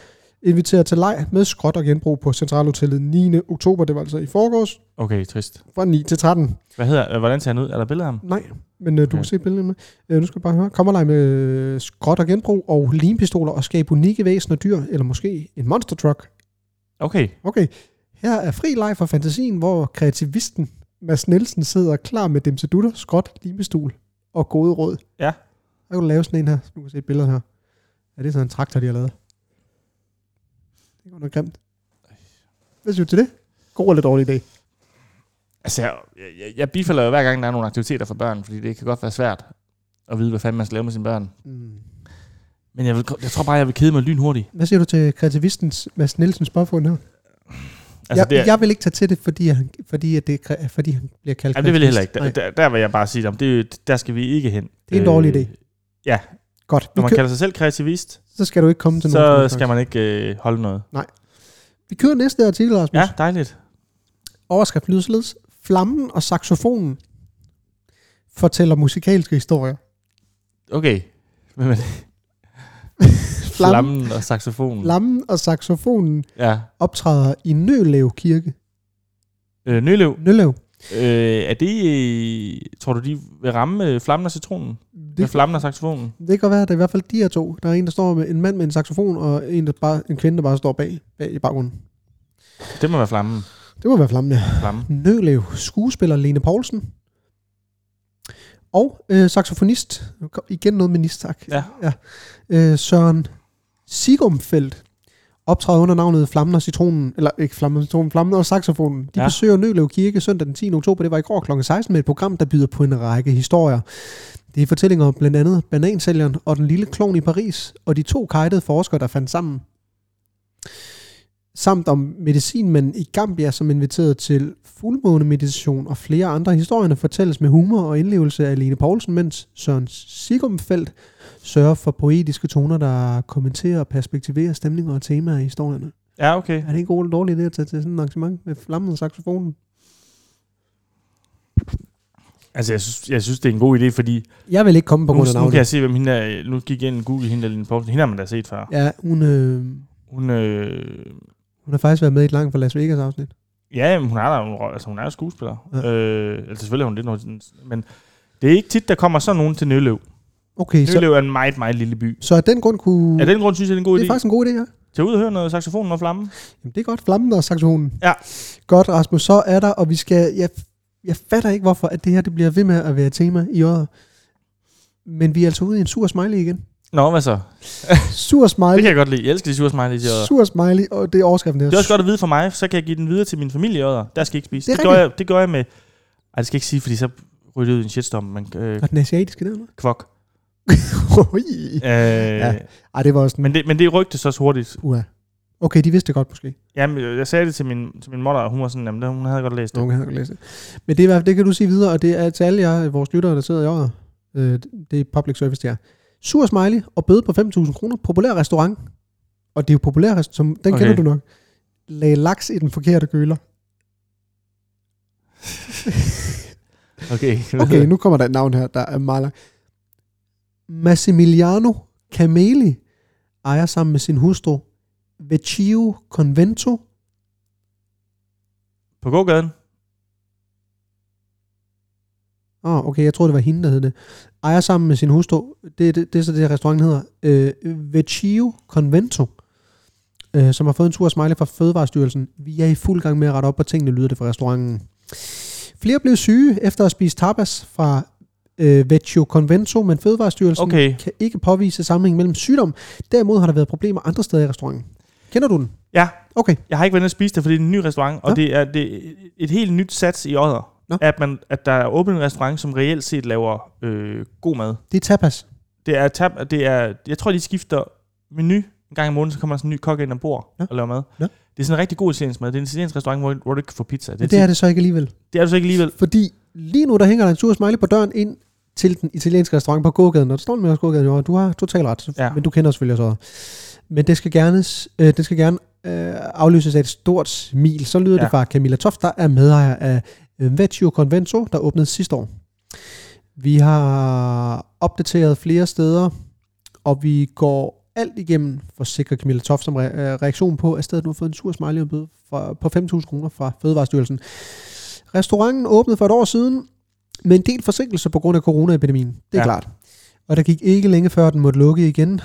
inviterer til leg med skråt og genbrug på Centralhotellet 9. oktober. Det var altså i forgårs
Okay, trist.
fra 9 til 13.
Hvad hedder, øh, hvordan ser han ud? Er der billeder af ham?
Nej, men øh, du
Okay.
kan se billederne med. Øh, nu skal du bare høre. Kommer leg med øh, skråt og genbrug og limpistoler og skabe unikke væsener, dyr eller måske en monster truck.
Okay.
Okay, her er fri leg for fantasien, hvor kreativisten Mads Nielsen sidder klar med dem til dutter, skråt, limpistol og gode råd.
Ja.
Der kan du lave sådan en her. Du kan se et billede her. Ja, det er sådan en traktor, de har lavet. Det var noget grimt. Hvad siger du til det? God eller dårlig idé?
Altså, jeg, jeg, jeg bifalder jo hver gang, der er nogle aktiviteter for børn, fordi det kan godt være svært at vide, hvad fanden man skal lave med sine børn.
Mm.
Men jeg, vil, jeg tror bare, jeg vil kede mig lynhurtigt.
Hvad siger du til kreativistens Mads Nielsens påfund her?
Altså,
Altså, jeg,
det, er-
det jeg vil ikke tage til det, fordi, han, fordi, at det, er kre- fordi han bliver kaldt
Jamen, det vil jeg heller ikke. Der,
kreativist.
der, der vil jeg bare sige, om det, der skal vi ikke hen.
Det er en dårlig idé.
ja.
Nej. Godt, vi
Når man
kø-
kalder sig selv kreativist,
så skal du ikke komme til nogen.
så
som-
skal man ikke øh, holde noget.
Vi kører næste artikel, Rasmus.
Ja, dejligt.
Overskrift lyder således. Flammen og saxofonen fortæller musikalske historier.
Okay. Hvem er det?
Flammen,
Flammen og saxofonen.
flammen og saxofonen
Ja.
optræder i Nølev Kirke.
Øh, Nølev,
Nølev.
øh, er det... Øh, tror du, de vil ramme øh, flammen og citronen? Med
Det,
flammen og saxofonen?
det kan godt være, at det er i hvert fald de her to. Der er en, der står med en mand med en saxofon, og en, der bare, en kvinde, der bare står bag, bag i baggrunden.
Det må være flammen.
Det må være flammen, ja.
Flammen.
Nølev skuespiller Lene Poulsen. Og øh, saxofonist, Nu kom- igen noget med nistak,
Ja.
ja. Øh, Søren Sigumfeldt optræder under navnet Flammen og Citronen, eller ikke Flammen og Citronen, Flammen og Saxofonen. De ja.
Ja.
besøger Nølev Kirke søndag den 10. oktober, det var i går kl. 16, med et program, der byder på en række historier. Det er fortællinger om blandt andet banansælgeren og den lille klovn i Paris, og de to kajtede forskere, der fandt sammen samt om medicinmanden i Gambia, som inviteret til fuldmånemeditation og flere andre historierne fortælles med humor og indlevelse af Lene Poulsen, mens Søren Sigumfeldt sørger for poetiske toner, der kommenterer og perspektiverer stemninger og temaer i historierne.
Ja, okay.
Er det en god eller dårlig idé at tage til sådan et arrangement med flammen og saxofonen?
Altså, jeg synes, jeg synes, det er en god idé, fordi...
Jeg vil ikke komme på
Nu,
grund
nu
af
kan
navnet.
jeg se, hvem hende er. Nu gik jeg ind i Google, hende der Lene Poulsen. Hende har man da set før.
Ja, hun, øh,
Hun, øh,
hun har faktisk været med i et langt fra Las Vegas afsnit.
Ja, jamen, hun er der, hun, rø- altså, hun er jo skuespiller.
Ja.
Ja. Øh, altså selvfølgelig er hun det, når, men det er ikke tit, der kommer sådan nogen til Nølev.
Okay, så,
Nølev er en meget, meget lille by.
så af den grund kunne...
Af den grund synes jeg, det er en god
det er
idé.
faktisk en god idé, ja.
Tag ud og høre noget saxofonen og flamme.
Jamen, det er godt. Flammen og saxofonen.
Ja.
Godt, Rasmus. Så er der, og vi skal... Jeg, jeg fatter ikke, hvorfor at det her det bliver ved med at være et tema i året. Men vi er altså ude i en sur smiley igen.
Nå, hvad så?
Sur
Det
smiley.
kan jeg godt lide. Jeg elsker de sure smileys i ådder.
Sur smiley, og det er overskriften her.
Det er også godt at vide for mig, for så kan jeg give den videre til min familie i ådder. Der skal I ikke spise.
Det er
Det, det, gør, jeg, det gør jeg med... Ej, det skal jeg ikke sige, fordi så ryger det ud i en shitstorm, men øh,
Og den asiatiske der,
kvok.
Oj.
Øh, ja.
Ej, det var også en...
men, det, men det rygte så hurtigt.
Uha. Okay, de vidste det godt måske.
Jamen, øh, jeg sagde det til min, til min motter, og hun var sådan, jamen, det- hun havde godt læst det.
Nogen havde læst det. Men det, er, i hvert fald- det kan du sige videre, og det er til alle jer, vores lyttere, der sidder i året. Øh, det er public service, det er. Sur smiley og bøde på 5.000 kroner. Populær restaurant. Og det er jo populær restaurant, som, den okay.
Okay.
kender du nok. Lag laks i den forkerte køler.
Okay.
Okay,
Okay,
nu.
nu kommer der et navn her, der er meget langt.
Massimiliano Cameli ejer sammen med sin hustru Vecchio Convento.
På gågaden?
Åh, oh, okay, jeg tror det var hende, der hed det. Ejer sammen med sin hustru, det, det, det er så det, restauranten hedder, øh, Vecchio Convento. øh, som har fået en tur af smiley fra Fødevarestyrelsen. Vi er i fuld gang med at rette op på tingene, lyder det fra restauranten. Flere blev syge efter at spise tapas fra øh, Vecchio Convento, men Fødevarestyrelsen okay.
Okay.
kan ikke påvise sammenhæng mellem sygdom. Derimod har der været problemer andre steder i restauranten. Kender du den?
Ja.
Okay.
Jeg har ikke været inde og spise det, fordi det er en ny restaurant, og
Nå.
det er det er et helt nyt sats i Odder.
Nå.
At, man, at der er åbnet en restaurant, som reelt set laver øh, god mad.
Det er tapas.
Det er tab, det er, jeg tror, de skifter menu en gang i måneden, så kommer der sådan en ny kok ind ombord
Nå.
og laver mad.
Nå.
Det er sådan en rigtig god italiensk mad. Det er en italiensk restaurant, hvor, hvor du ikke kan få pizza. Det er,
Men det er det så ikke alligevel.
det er du så ikke alligevel.
Fordi lige nu, der hænger der en sur smiley på døren ind til den italienske restaurant på gågaden, og der står den med os gågaden, og du har totalt ret, ja.
Ja.
men du kender selvfølgelig også. Men det skal gerne, øh, det skal gerne øh, afløses af et stort smil. Så lyder ja.
Ja.
det fra Camilla Toft, der er medejer af øh, Vecchio Convento, der åbnede sidste år. Vi har opdateret flere steder, og vi går alt igennem, forsikrer Camilla Toft som re- øh, reaktion på, at stedet nu har fået en sur smiley bøde fra, på 5.000 kroner fra Fødevarestyrelsen. Restauranten åbnede for et år siden, med en del forsinkelser på grund af coronaepidemien. Det er ja.
Ja.
klart. Og der gik ikke længe før, den måtte lukke igen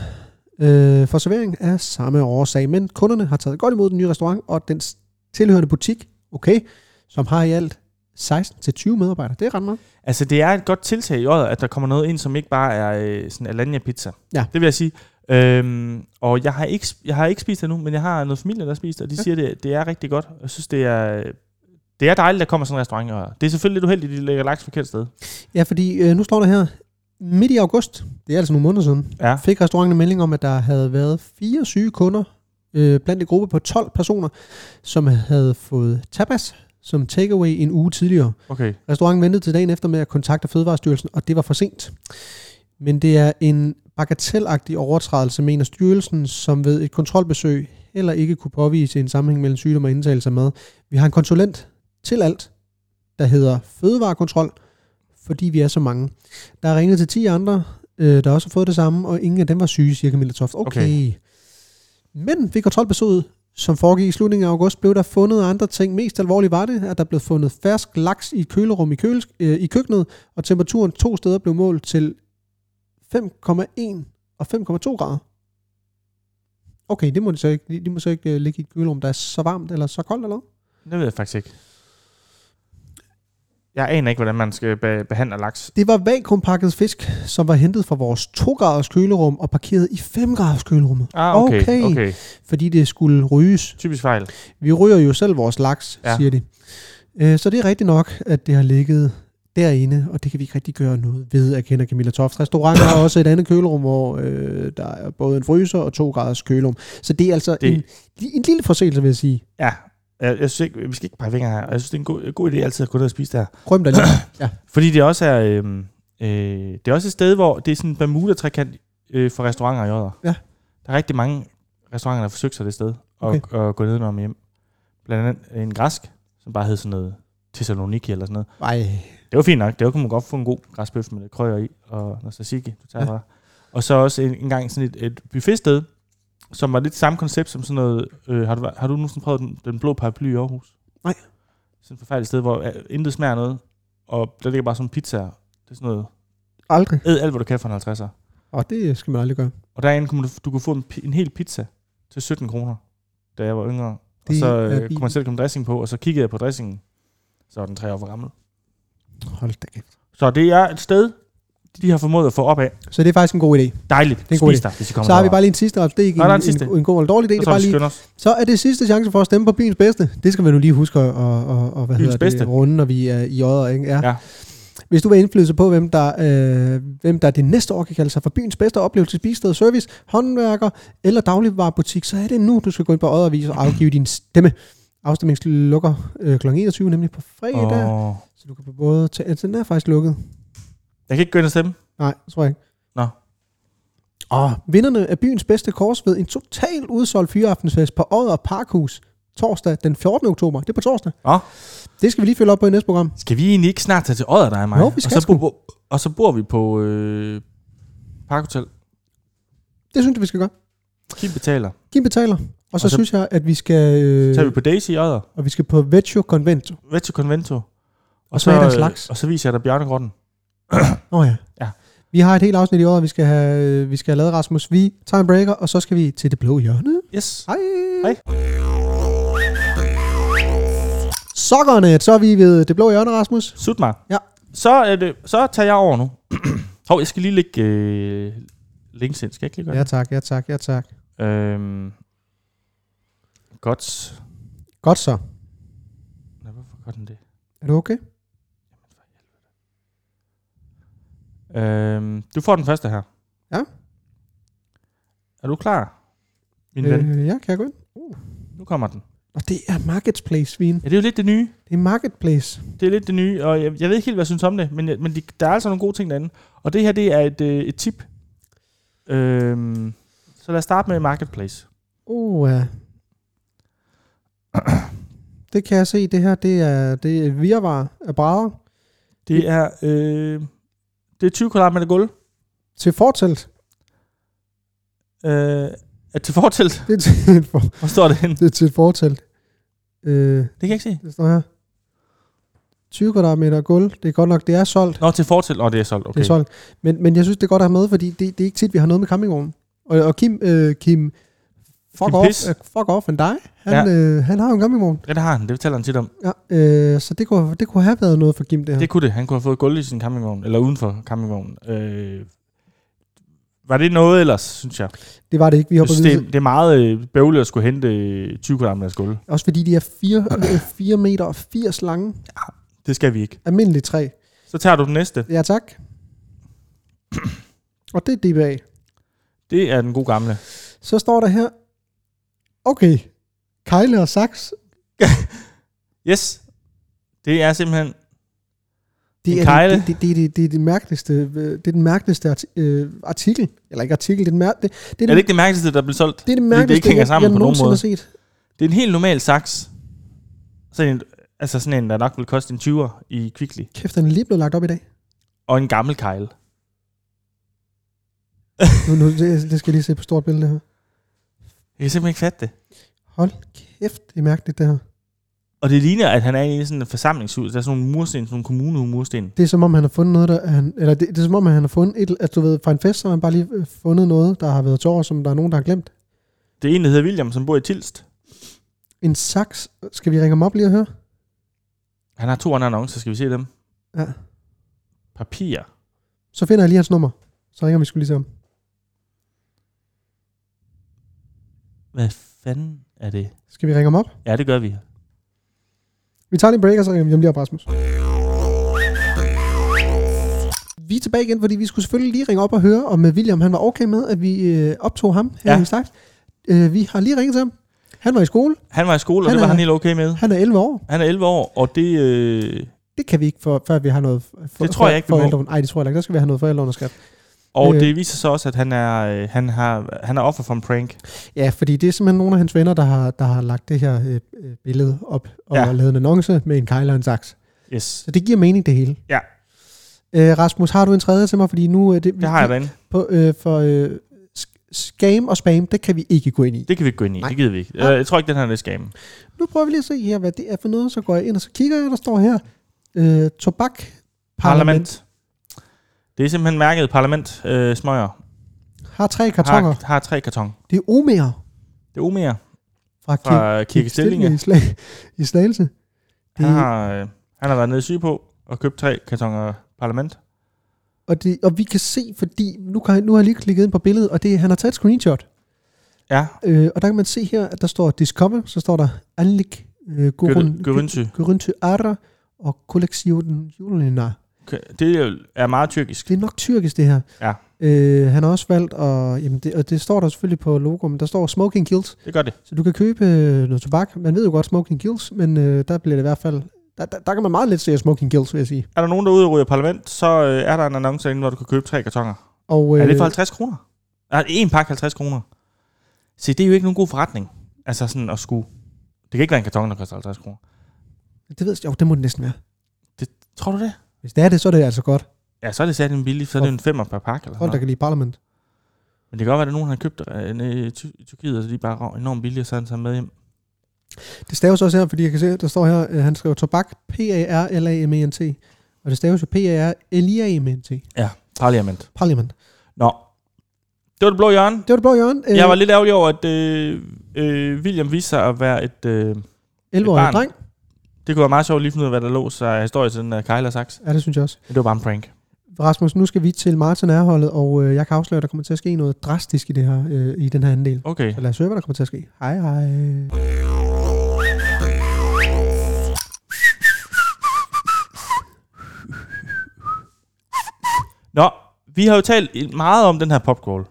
øh, for servering af samme årsag. Men kunderne har taget godt imod den nye restaurant og dens tilhørende butik, okay, som har i alt 16-20 medarbejdere. Det er ret meget.
Altså, det er et godt tiltag i året, at der kommer noget ind, som ikke bare er øh, sådan alanya pizza.
Ja.
Det vil jeg sige. Øhm, og jeg har, ikke, sp- jeg har ikke spist det nu, men jeg har noget familie, der har spist, og de ja. siger, det, det er rigtig godt. Jeg synes, det er, det er dejligt, at der kommer sådan en restaurant. Og det er selvfølgelig lidt uheldigt, at de lægger laks forkert sted.
Ja, fordi øh, nu står der her, midt i august, det er altså nogle måneder siden,
Ja.
fik restauranten en melding om, at der havde været fire syge kunder øh, blandt en gruppe på 12 personer, som havde fået tapas som takeaway en uge tidligere.
Okay.
Restauranten ventede til dagen efter med at kontakte Fødevarestyrelsen, og det var for sent. Men det er en bagatelagtig overtrædelse, mener styrelsen, som ved et kontrolbesøg heller ikke kunne påvise en sammenhæng mellem sygdom og indtagelse af mad. Vi har en konsulent til alt, der hedder Fødevarekontrol, fordi vi er så mange. Der er ringet til 10 andre, øh, der også har fået det samme, og ingen af dem var syge, siger Camilla Toft. Okay. okay.
Okay.
Men ved kontrolbesøget, som foregik i slutningen af august, blev der fundet andre ting. Mest alvorligt var det, at der blev fundet fersk laks i et kølerum i, køles, øh, i køkkenet, og temperaturen to steder blev målt til 5,1 og 5,2 grader. Okay, det må de så ikke, de, de må så ikke øh, ligge i et kølerum, der er så varmt eller så koldt eller noget.
Det ved jeg faktisk ikke. Jeg aner ikke, hvordan man skal be- behandle laks.
Det var vakuumpakket fisk, som var hentet fra vores 2-graders kølerum og parkeret i 5-graders kølerummet,
Ah, okay.
Okay.
Okay. okay.
fordi det skulle ryges.
Typisk fejl.
Vi ryger jo selv vores laks, ja.
Ja.
siger de. Øh, Så det er rigtigt nok, at det har ligget derinde, og det kan vi ikke rigtig gøre noget ved, erkender Camilla Toft. Restauranten har også et andet kølerum, hvor øh, der er både en fryser og to graders kølerum. Så det er altså det.
Det-
En, li- en lille forseelse, vil jeg sige.
Ja. Jeg, jeg synes ikke, vi skal ikke pege fingre her. og Jeg synes, det er en god, god idé altid at gå ned og spise der.
Krøm dig lige.
Fordi det også er, øhm, øh, det er også et sted, hvor det er sådan en Bermuda-trekant øh, for restauranter i Odder.
Ja.
Der er rigtig mange restauranter, der har forsøgt sig det sted og,
Okay.
okay. og gå ned med hjem. Blandt andet en græsk, som bare hed sådan noget Thessaloniki eller sådan noget.
Ej,
Det var fint nok. Det var, kunne man godt få en god græsbøf med lidt krøjer i og noget tzatziki. Du tager ja.
Ja.
bare. Og så også en, en gang sådan et, et buffetsted, som var lidt samme koncept som sådan noget... Øh, har, du, har du nogensinde prøvet den, den blå paraply i Aarhus?
Nej.
Sådan et forfærdeligt sted, hvor øh, intet smager af noget, og der ligger bare sådan pizzaer. Det er sådan noget...
aldrig.
Æd alt, hvad du kan for en 50'er.
Og det skal man aldrig gøre.
Og derinde kunne du, du kunne få en, pi- en hel pizza til 17 kroner, da jeg var yngre. Og
Det
så
er
øh,
billigt.
kunne man selv komme dressing på, og så kiggede jeg på dressingen. Så var den tre år for gammel.
Hold da kæft.
Så det er et sted, de har formået at få op af.
Så det er faktisk en god idé.
Dejligt. Det
er en
er
god
Spis dig, hvis I kommer
Så har vi
derover.
bare lige en sidste rap. Det er ikke
Nå,
en,
der er
en,
en sidste.
en, en, god eller dårlig
Så
idé. Det er
tror
bare
jeg, vi
lige,
skynder os.
så er det sidste chance for at stemme på byens bedste. Det skal man jo lige huske at, og, og, og hvad
Byens
hedder
bedste.
det, runde, når vi er i øjet. Ikke? Ja.
Ja.
Hvis du vil have indflydelse på, hvem der, øh, hvem der det næste år kan kalde sig for byens bedste oplevelse, spisested, service, håndværker eller dagligvarerbutik, så er det nu, du skal gå ind på Oddervis og afgive din stemme. Afstemningen lukker øh, kl. 21, nemlig på fredag. Oh.
Åh.
Så du kan på både til... Altså, den er faktisk lukket.
Jeg kan ikke gå ind og stemme.
Nej, det tror jeg ikke.
Nå.
Og vinderne af byens bedste kors ved en totalt udsolgt fyreaftensfest på Odder Parkhus torsdag den 14. oktober. Det er på torsdag.
Nå.
Det skal vi lige følge op på i næste program.
Skal vi egentlig ikke snart tage til Odder, dig og mig?
Jo, vi skal
og så,
sgu.
bo, og så bor vi på øh, Parkhotel.
Det synes jeg, vi skal gøre.
Kim betaler.
Kim betaler. Og så, og
Og
så
så-
synes jeg, at vi skal,
Så tager
øh,
vi på Daisy i Odder.
og vi skal på Vecchio Convento.
Hvad til Convento.
Og smage deres
øh,
laks.
Og så viser jeg dig Bjørnegrotten.
Nå ja.
Ja.
Vi har et helt afsnit i år, og vi skal have, øh, vi skal have lavet Rasmus. Vi tager en breaker, og så skal vi til det blå hjørne.
Yes.
Hej! Sokkerne, så er vi ved det blå hjørne, Rasmus.
Sut mig.
Ja.
Så, er det, så tager jeg over nu. Hov, jeg skal lige lægge øh, links ind. Skal jeg ikke lige gøre
Ja tak, ja tak, ja tak.
det? Øhm, godt.
Godt så.
Nej, hvorfor gør den det?
Er du okay?
Øhm, du får den første her.
Ja.
Er du klar, min øh. ven?
Øh, ja, kan jeg gå ind?
Nu kommer den.
Og det er Marketplace, vin.
Ja, det er jo lidt det nye.
Det er Marketplace.
Det er lidt det nye, og jeg, jeg ved ikke helt, hvad jeg synes om det, men, jeg- men de, der er altså nogle gode ting derinde. Og det her, det er et, øh, et tip. Øhm, så lad os starte med Marketplace.
Uh, ja. Det kan jeg se, det her, det er, det er virvar af brædder
Det er, øh, det er 20 kvadratmeter gulv
til fortelt.
øh, er til fortelt.
Det er til et, for,
Hvor står det henne?
det er til et fortelt. Øh,
Det kan jeg ikke se.
det står her. 20 kvadratmeter gulv, det er godt nok, det er solgt.
Nå, til fortelt. Åh, det er solgt.
Okay. Det
Okay.
er solgt. Men, men jeg synes, det er godt at have med, fordi det, det er ikke tit, vi har noget med campingvognen. Og, og Kim, øh, Kim, fuck,
Kim
off,
Piss.
øh, fuck off and die, han, ja. øh, han har jo en campingvogn.
Ja, det har han. Det fortæller han tit om.
Ja, øh, så det kunne, det kunne have været noget for Kim, det her.
Det kunne det. Han kunne have fået gulv i sin campingvogn, eller uden for campingvognen. Øh, var det noget ellers, synes jeg?
Det var det ikke, vi
Jeg
hopper
synes, det, er-
videre.
det er meget øh, bøvlet at skulle hente øh, 20 kvadratmeters gulv.
Også fordi de er 4, øh, 4 meter og 80 lange.
Det skal vi ikke.
Almindeligt træ.
Så tager du den næste.
Ja, tak. Og det er DBA.
Det er den gode gamle.
Så står der her, okay, Kejle og Saks,
Yes. Det er simpelthen... En
det er
kegle.
det, det, det, det, det, er det mærkeligste, øh, det er den mærkeligste arti- øh, artikel, eller ikke artikel, det er, den mær- det, det, er,
Er det
den,
ikke det mærkeligste, der blev solgt?
det er det
det
mærkeligste,
ikke hænger sammen
jeg, jeg
på nogen
nogensinde
måde?
har set.
Det er en helt normal saks. Sådan en, altså sådan en, der nok vil koste en 20'er i Kvickly.
Kæft, den er lige blevet lagt op i dag.
Og en gammel kejl.
Nu, nu, det, det skal jeg lige se på stort billede her.
Jeg kan simpelthen ikke fatte det.
Hold kæft, det er mærkeligt det her.
Og det ligner, at han er inde i sådan et forsamlingshus. Der er sådan nogle mursten, sådan nogle kommunehusmursten.
Det er som om, han har fundet noget, der han, eller det, det er som om, han har fundet et, at du ved, fra en fest, så har han bare lige øh, fundet noget, der har været tår, som der er nogen, der har glemt.
Det er en, der hedder William, som bor i Tilst.
En saks, skal vi ringe ham op lige og høre?
Han har to andre annoncer, skal vi se dem?
Ja.
Papir.
Så finder jeg lige hans nummer. Så ringer vi skulle lige til ham.
Hvad fanden er det?
Skal vi ringe ham op?
Ja, det gør vi.
Vi tager lige en break, og så ringer vi hjem lige op, Rasmus. Vi er tilbage igen, fordi vi skulle selvfølgelig lige ringe op og høre, om øh, William han var okay med, at vi øh, optog ham her
Ja.
ja. i Slags. Øh, vi har lige ringet til ham. Han var i skole.
Han var i skole, og
Han
det var
er-
han helt okay med.
Han er 11 år.
Han er 11 år, og det... Øh,
Det kan vi ikke, for, før vi har noget for,
Det tror jeg ikke, vi må.
forældre. Nej, det tror jeg heller ikke. Der skal vi have noget forældreunderskab.
og
Øh.
det viser sig også, at han er, øh, han har, han er offer for en prank.
Ja, fordi det er simpelthen nogle af hans venner, der har, der har lagt det her øh, øh, billede op og
Ja.
ja. lavet en annonce med en kejler og en saks.
Yes.
Så det giver mening, det hele.
Ja.
Øh, Rasmus, har du en tredje til mig? Fordi nu... Øh,
Det har jeg derinde.
på, øh, for øh, sk- scam og spam, det kan vi ikke gå ind i.
Det kan vi ikke gå ind i.
Nej.
Det gider vi ikke.
Nej.
Øh, Jeg tror ikke, den her er lidt skam.
Nu prøver vi lige at se her, hvad det er for noget. Så går jeg ind, og så kigger jeg, der står her. Øh, tobak.
Parlament. Det er simpelthen mærket parlament, øh, smøger.
Har tre kartonger.
Har, har tre karton.
Det er Omer
Det er Omea
fra, Kirke
fra Kirke Stillinge.
i, Slag, i Slagelse. Det,
Han har, øh, han har været nede i syg på og købt tre kartonger parlament.
og, det, og vi kan se, fordi nu, kan, nu har jeg lige klikket ind på billedet, og det, han har taget et screenshot.
Ja,
Øh, og der kan man se her, at der står Discover, så står der Anlik øh, Gurun-
Görüntü.
Görüntü Ara og Kollektionen Julina.
Det er jo- er meget tyrkisk.
Det er nok tyrkisk, det her.
Ja.
Øh, han har også valgt, at, jamen det, og det står der selvfølgelig på logoen, men der står Smoking Guilt,
Det gør det.
så du kan købe øh, noget tobak. Man ved jo godt Smoking Guilt, men øh, der bliver det i hvert fald... Der, der, der kan man meget let se Smoking Guilt, vil jeg sige.
Er der nogen, der er ude og ryger parlament, så øh, er der en annonce inde, hvor du kan købe tre kartonger.
Og,
Øh. Er det for 50 kroner? Er en pakke 50 kroner? Se, det er jo ikke nogen god forretning. Altså sådan at skulle... Det kan ikke være en karton, der koster 50 kroner.
Det ved jeg, jo, det må det næsten være.
Tror du det?
Hvis det er det, så er det altså godt.
Ja, så er det sat en billig, så er det en femmer per pakke. Eller sådan
Folk, der
noget.
kan lide Parliament.
Men det kan godt være, at der er nogen der har købt øh, nede i Ty- i Tyrkiet, og så de er bare rav- enormt billige, og så er den taget med hjem.
Det staves også her, fordi jeg kan se, der står her, øh, han skriver tobak, P-A-R-L-A-M-E-N-T. Og det staves jo P-A-R-L-I-A-M-E-N-T.
Ja, parlament.
Parliament.
Nå, Det var det blå hjørne.
Det var det blå hjørne. Øh,
Jeg var lidt ærgerlig over, at øh, øh, William viste sig at være et... Øh,
11
et
årig
barn.
dreng.
det kunne være meget sjovt lige at finde ud af, hvad der lå sig af historie til den der Kyle har sagt.
Ja, det synes jeg også.
Men det var bare en prank.
Rasmus, nu skal vi til Martin Erholdet, og øh, jeg kan afsløre, at der kommer til at ske noget drastisk i, det her, øh, i den her anden del.
Okay.
Så lad os høre, hvad der kommer til at ske. Hej, hej.
Nå, vi har jo talt meget om den her popcrawl.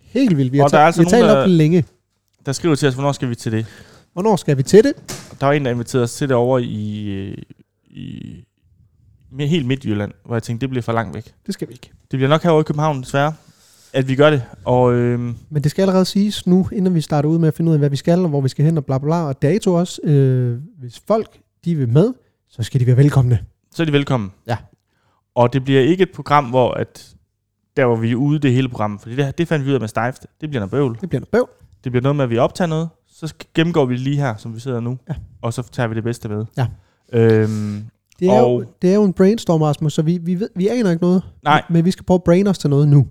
Helt vildt. Vi har,
Og der er
talt-
altså
vi har talt
nogen, der-
op længe.
Der skriver til os, hvornår skal vi til det?
Hvornår skal vi til det?
Der var en, der inviterede os til det over i, øh, i med helt Midtjylland, hvor jeg tænkte, det bliver for langt væk.
Det skal vi ikke.
Det bliver nok herovre i København, desværre, at vi gør det. Og øh,
Men det skal allerede siges nu, inden vi starter ud med at finde ud af, hvad vi skal, og hvor vi skal hen, og bla bla bla, og dato også. Øh, hvis folk, de vil med, så skal de være velkomne.
så er de velkommen.
Ja.
Og det bliver ikke et program, hvor at der hvor vi er ude det hele program, for det, her- det fandt vi ud af med Steift. Det bliver noget bøvl.
Det bliver noget bøv.
Det bliver noget med, at vi optager noget, så sk- gennemgår vi det lige her, som vi sidder nu,
Ja.
og så tager vi det bedste med.
Ja.
Øhm,
Det er,
Og-
jo, det er jo en brainstorm, Rasmus, så vi, vi, ved, vi aner ikke noget.
Nej.
Men vi skal prøve at brain os til noget nu.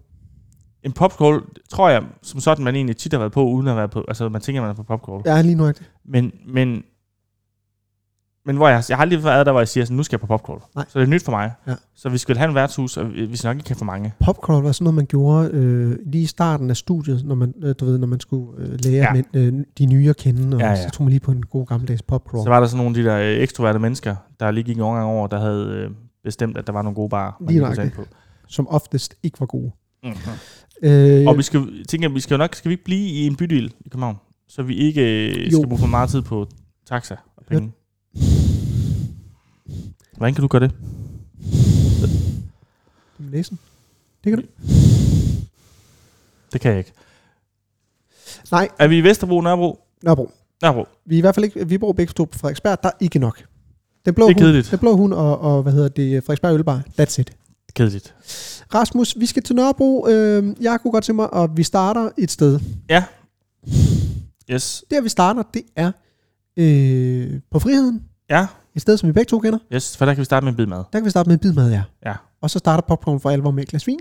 en popcrawl, tror jeg, som sådan, man egentlig tit har været på, uden at være på, altså man tænker, man er på popcrawl.
Ja, lige nu.
Men, men, men hvor jeg, jeg har aldrig været der, hvor jeg siger, sådan, nu skal jeg på popcorn.
Nej.
Så det er nyt for mig.
Ja.
Så vi skal have en værtshus, og vi vi skal nok ikke have for mange.
Popcrawl var sådan noget, man gjorde øh, lige i starten af studiet, når man, øh, du ved, når man skulle øh, lære
Ja.
ja. men, øh, de nye at kende, og
Ja,
ja,
ja.
ja. så tog man lige på en god gammeldags
Så
popcrawl.
var der sådan nogle af de der øh, ekstroverte mennesker, der lige gik en overgang over, der havde øh, bestemt, at der var nogle gode barer, man
Lige
lige kunne tage ind
nøjagtigt.
på.
som oftest ikke var gode.
Mm-hmm.
Øh,
Og vi skal, tænker, vi skal jo nok, skal vi ikke blive i en bydel i København? Så vi ikke øh,
Jo.
skal bruge for meget tid på taxa og penge. Hvordan kan du gøre det?
Næsen. Det kan du.
Det kan jeg ikke.
Nej,
Er vi i Vesterbro, Nørrebro?
Nørrebro.
Nørrebro.
Vi er i hvert fald ikke, vi bor begge to på Frederiksberg, der er ikke nok. Den blå
Det er
hund,
kedeligt.
den blå hund og, og, hvad hedder det, Frederiksberg Ølbar, that's it.
Kedeligt.
Rasmus, vi skal til Nørrebro. Øh, jeg kunne godt tænke mig, og vi starter et sted.
Yes.
Der vi starter, det er øh, på Friheden.
Ja.
Et sted, som vi begge to kender.
Yes, for der kan vi starte med en bid mad.
Der kan vi starte med en bid mad, ja.
Ja.
Og så starter popcorn for alvor med et glas vin,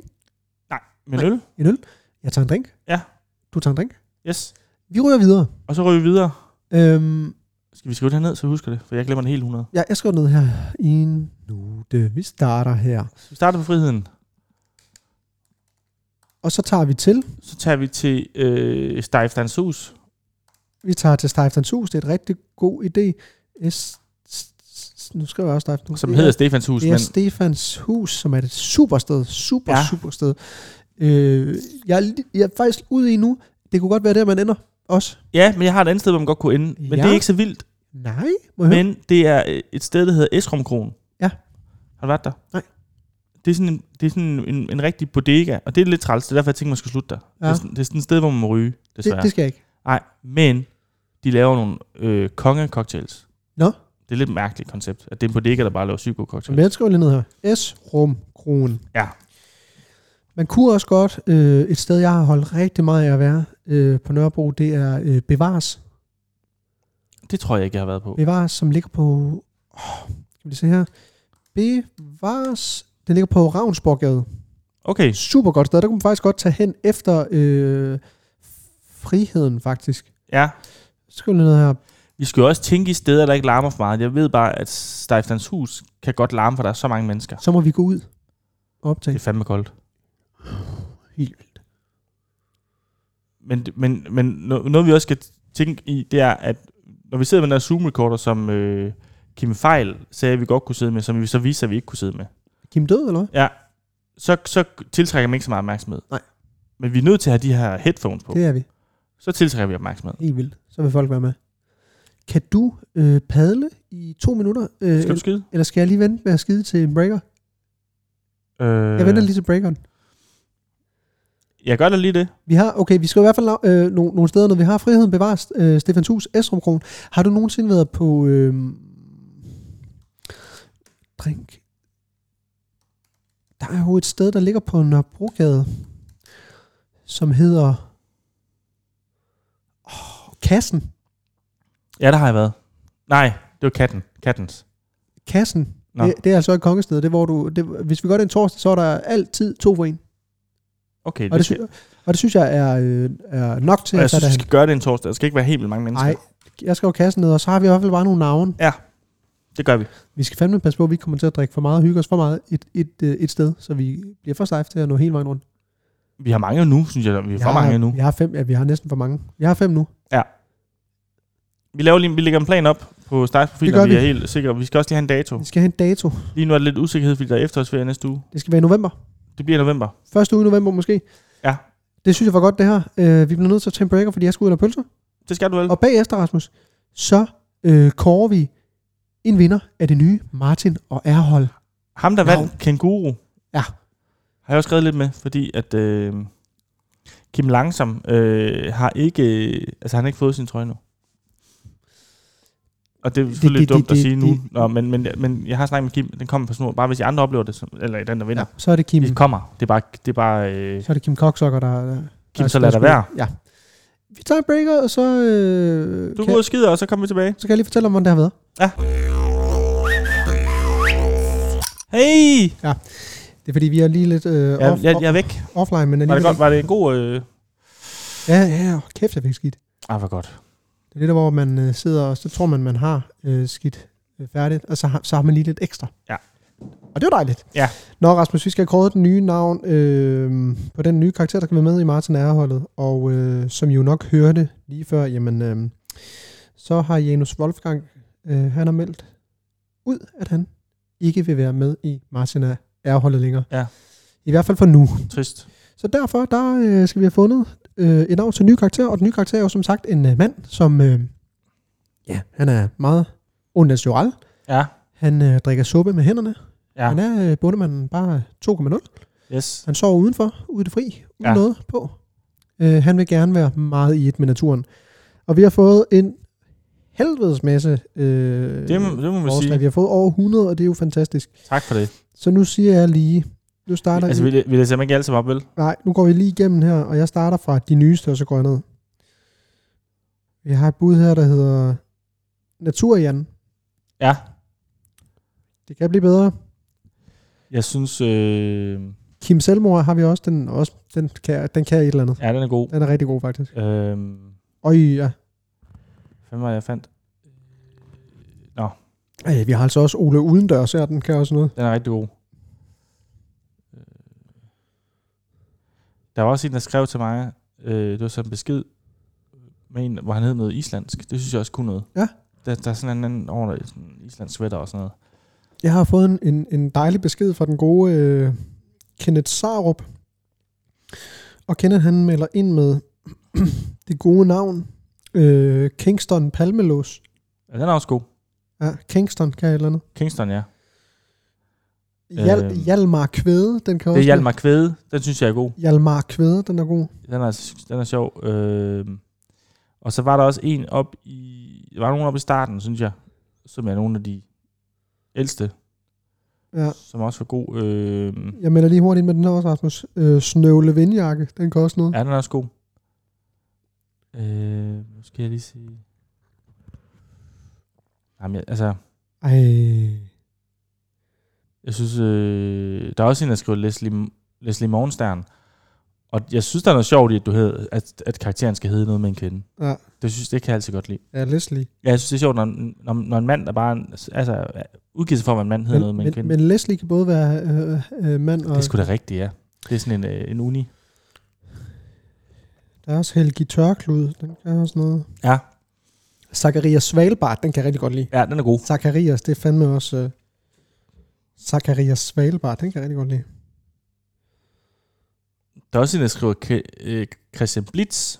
Nej, med
Nej.
øl.
en øl. Jeg tager en drink.
Ja.
Du tager en drink.
Yes.
Vi ryger videre.
Og så ryger vi videre.
Øhm,
Skal vi skrive det ned, så jeg husker det? For jeg glemmer det helt 100.
ja, jeg skriver ned her i en note. Vi starter her.
Så vi starter på friheden.
Og så tager vi til.
Så tager vi til øh, Stejfdans hus.
Vi tager til Steiftans Hus. Det er et rigtig god idé. S- s- s- nu skriver jeg også Steifans Hus.
som
Det
hedder
er-
Stefans hus.
Det er
Men
Stefans Hus, som er et super sted. Super,
Ja.
ja. super sted. Øh, jeg, er li- jeg er faktisk ude i nu. Det kunne godt være der, man ender. Også.
ja, men jeg har et andet sted, hvor man godt kunne ende. Men ja.
Ja.
det er ikke så vildt.
Nej, må jeg høre?
Men det er øh, et sted, der hedder Esrumkron.
Ja.
Har du været der?
Nej.
Det er sådan, en, det er sådan en, en rigtig bodega, og det er lidt træls. Det er derfor, jeg tænker, man skal slutte der. Ja. Det, er
Ja.
sådan, det er sådan et sted, hvor man må ryge, desværre.
det, det skal jeg ikke.
Nej, men de laver nogle øh, kongecocktails.
Nå.
Det er et lidt mærkeligt koncept, at det er en bodega, der bare laver syge gode
Så
cocktails.
jeg skriver lige ned her. S. Rum Kron.
Ja.
Man kunne også godt, øh, et sted jeg har holdt rigtig meget af at være øh, på Nørrebro, det er øh, Bevares.
Det tror jeg ikke, jeg har været på.
Bevares, som ligger på... Åh, skal vi se her. Bevares, den ligger på Ravnsborggade.
Okay,
Super godt sted. Der kunne man faktisk godt tage hen efter øh, friheden, faktisk.
ja.
Så skriver jeg lige ned her.
Vi skal jo også tænke i steder, der ikke larmer for meget. Jeg ved bare, at Stejftans hus kan godt larme, for der er så mange mennesker.
Så må vi gå ud og optage.
Det er fandme koldt.
Helt
vildt. Men, men, men no- noget, vi også skal tænke i, det er, at når vi sidder med den der Zoom-recorder, som øh, Kim Fejl sagde, at vi godt kunne sidde med, som vi så viser, at vi ikke kunne sidde med,
Kim død, eller hvad?
så, så tiltrækker man ikke så meget opmærksomhed.
Nej.
Men vi er nødt til at have de her headphones på.
Det er vi.
Så tiltrækker vi opmærksomhed.
Helt vildt. Så vil folk være med. Kan du øh, padle i to minutter? Øh,
Skal du skide?
eller skal jeg lige vente med at skide til en breaker?
Øh,
Jeg venter lige til breakeren.
Jeg gør da lige det.
Vi har, okay, vi skal i hvert fald øh, nogle, nogle steder, når vi har friheden bevares. Øh, Stefans Hus, Esrum Kron. Har du nogensinde været på... Øh, drink. Der er jo et sted, der ligger på Nørrebrogade, som hedder... Oh, kassen.
Ja, der har jeg været. Nej, det var katten. Kattens.
Kassen.
Nå.
Det, det, er altså et kongested. Det, er, hvor du, det, hvis vi gør det en torsdag, så er der altid to for en.
Okay,
Og det, sy- og det synes jeg er, øh, er nok til,
og jeg
at
synes,
der
vi skal gøre det en torsdag. Der skal ikke være helt vildt mange mennesker.
Nej, jeg skal jo kassen ned, og så har vi i hvert fald bare nogle navne.
Det gør vi.
Vi skal fandme passe på, at vi ikke kommer til at drikke for meget og hygge os for meget et, et, øh, et sted, så vi bliver for stejf til at nå hele vejen rundt.
Vi har mange nu, synes jeg. Vi har for
Jeg har-
mange nu.
Jeg har fem, ja, vi har næsten for mange. Jeg har fem nu.
Vi, laver lige, vi lægger en plan op på Stars profil,
Det gør
når vi,
vi.
er helt sikre. Vi skal også lige have en dato.
Vi skal have en dato.
Lige nu er der lidt usikkerhed, fordi der er efterårsferie næste uge.
Det skal være i november.
Det bliver i november.
Første uge i november måske.
Ja.
Det synes jeg var godt, det her. Øh, vi bliver nødt til at tage en breaker, fordi jeg skal ud og have pølser.
Det skal du vel.
Og bagefter, Rasmus, så øh, kårer vi en vinder af det nye Martin og Erhold.
Ham, der
Wow.
vandt Kenguru,
Ja.
har jeg også skrevet lidt med, fordi at øh, Kim Langsom øh, har ikke, øh, altså han har ikke fået sin trøje nu. Og det er selvfølgelig
det-
det, det, dumt
det-
at sige
det-
nu,
det-
Nå, men, men, men jeg har snakket med Kim, den kommer på snor, bare hvis I andre oplever det, så, eller den, der vinder.
Ja, så er det Kim,
Ja. Det kommer, det er bare, det er bare øh,
så er det Kim Koksokker, der, der
Kim,
der-
så lad
der-
der være.
Ja. Vi tager en breaker, og så, øh,
Du
kan,
går ud og skider, og så kommer vi tilbage.
så kan jeg lige fortælle om, hvordan det har været.
Hey!
Det er fordi, vi er lige lidt øh,
Jeg,
off,
jeg, jeg er væk.
offline, men
Var det,
alligevel...
godt, var det en god... Øh...
Ja, ja, ja, kæft, jeg fik skidt.
Ah, hvor godt.
Det er det der, hvor man øh, sidder, og så tror man, man har øh, skidt øh, færdigt, og så har, så har man lige lidt ekstra.
Ja.
Og det er jo dejligt.
Ja.
Nå, Rasmus, vi skal have kåret den nye navn øh, på den nye karakter, der kan være med i Martin Ærholdet, og øh, som I jo nok hørte lige før, jamen, øh, så har Janus Wolfgang, øh, han har meldt ud, at han ikke vil være med i Martin Ærholdet længere.
Ja.
I hvert fald for nu.
Trist.
Så derfor, der øh, skal vi have fundet øh, et navn til en ny karakter, og den nye karakter er jo som sagt en øh, mand, som, øh, ja, han er meget unnatural.
Ja.
Han øh, drikker suppe med hænderne.
Ja.
Ja. Han er øh, bundemanden bare 2,0.
Yes.
Han sover udenfor, ude i det fri, uden
Ja.
ja. noget på. Øh, han vil gerne være meget i et med naturen. Og vi har fået en helvedes masse øh,
Det, må- det må man
forslag.
sige.
Vi har fået over 100, og det er jo fantastisk.
Tak for det.
Så nu siger jeg lige, nu starter
Altså,
I-
vi, vi læser dem ikke alle sammen op, vel?
Nej, nu går vi lige igennem her, og jeg starter fra de nyeste, og så går jeg ned. Vi har et bud her, der hedder Naturjan.
Ja.
Det kan blive bedre.
Jeg synes, øh,
Kim Selvmord har vi også. Den, også, den, kan, den kan et eller andet.
ja, den er god.
Den er rigtig god, faktisk.
Øh,
Og ja.
hvad var det, jeg fandt?
Ej, vi har altså også Ole Udendørs her, den kan også noget.
Den er rigtig god. Øh, Der var også en, der skrev til mig, øh, det var sådan en besked, med en, hvor han hed noget islandsk. Det synes jeg også kunne noget.
Ja.
Der, der er sådan en anden over der, sådan en islandsk sweater og sådan noget.
Jeg har fået en, en, en dejlig besked fra den gode øh, Kenneth Sarup. Og Kenneth han melder ind med det gode navn, øh, Kingston Palmelås.
Ja, den er også god.
Ja, Kingston kan jeg et eller andet.
Kingston, ja.
Hjal,
Øhm.
Hjalmar Kvæde, den kan
Det er
også...
Hjalmar Kvæde. Den synes jeg er god.
Hjalmar Kvæde, den er god.
Den er, altså- den er sjov. Øh, og så var der også en op i... Der var nogen op i starten, synes jeg, som er nogle af de ældste,
Ja.
som også var god. Øh,
Jeg melder lige hurtigt ind med den her også, Rasmus. Øh, Snøvle Vindjakke, den kan også noget. Ja.
ja, den er også god. Øh, nu skal jeg lige sige... Jamen, jeg, altså,
Ej,
jeg synes... Øh, der er også en, der skriver Leslie, Leslie Morgenstern. Og jeg synes, der er noget sjovt i, at, du hed, at, at karakteren skal hedde noget med en kvinde.
Ja.
Det synes det kan jeg altid godt lide.
ja, Leslie.
Ja, jeg synes, det er sjovt, når, en- når, når en mand, der bare altså, udgiver sig for, at man mand hedder noget med en
men,
kvinde.
men Leslie kan både være øh, øh, mand og...
det er sgu da rigtigt, ja. Det er sådan en, øh, en uni.
Der er også Helgi Tørklud, den kan også noget.
Ja.
Zacharias Svalbard, den kan jeg rigtig godt lide.
Ja, den er god.
Zacharias, det er fandme også... Øh, Zacharias Svalbard, den kan jeg rigtig godt lide.
Der er også en, der skriver K- øh, Christian Blitz,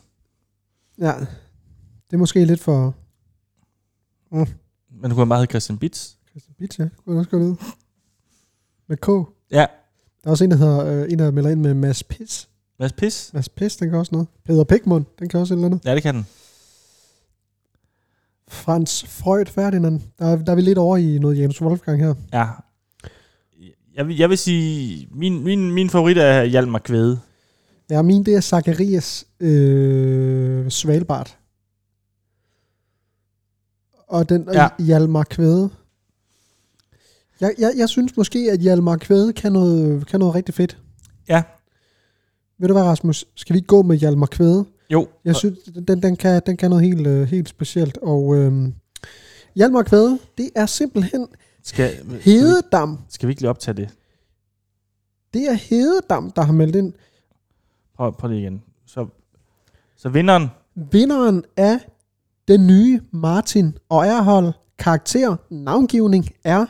Ja, det er måske lidt for...
men du kunne bare hedde Christian Blitz.
Christian Bitch, ja. Kunne jeg også godt lide. Med K.
Ja.
Der er også en, der, hedder, øh, en, der melder ind med Mads Pis.
Mads Pis.
Mads Pis, den kan også noget. Peder Pigmund, den kan også et eller andet.
Ja, det kan den.
Frans Freud Ferdinand. Der, er- der er vi lidt over i noget Janus Wolfgang her.
Ja. Jeg vil, jeg vil sige, min, min, min favorit er Hjalmar Kvæde.
Ja, min det er Zacharias øh, Svalbard. Og den ja.
Ja.
Hjalmar Kvæde. Jeg, jeg, jeg synes måske, at Hjalmar Kvæde kan noget, kan noget rigtig fedt.
Ja.
Ved du hvad, Rasmus? Skal vi ikke gå med Hjalmar Kvæde?
Jo.
Jeg synes, den, den, kan, den kan noget helt, øh, helt specielt. Og øhm, Hjalmar Kvæde, det er simpelthen
Skal, skal, vi,
Hededam.
skal vi ikke lige optage det?
Det er Hededam, der har meldt ind.
Prøv, prøv lige igen. Så, så vinderen,
Vinderen af den nye Martin og Erhold karakter navngivning er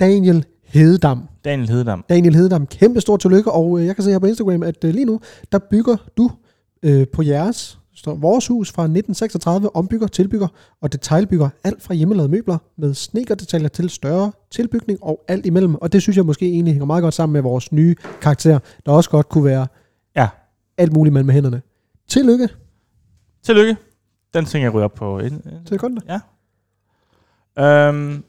Daniel Hededam.
Daniel Hededam.
Daniel Hededam, kæmpe stor tillykke, og øh, jeg kan se her på Instagram, at øh, lige nu, der bygger du øh, på jeres, står vores hus fra 1936, ombygger, tilbygger og detailbygger alt fra hjemmelavede møbler med snekerdetaljer til større tilbygning og alt imellem. Og det synes jeg måske egentlig hænger meget godt sammen med vores nye karakter, der også godt kunne være
Ja.
alt muligt mellem hænderne. Tillykke
Tillykke. Den ting, jeg ryger op på. ind- ind.
til kunden.
Øhm,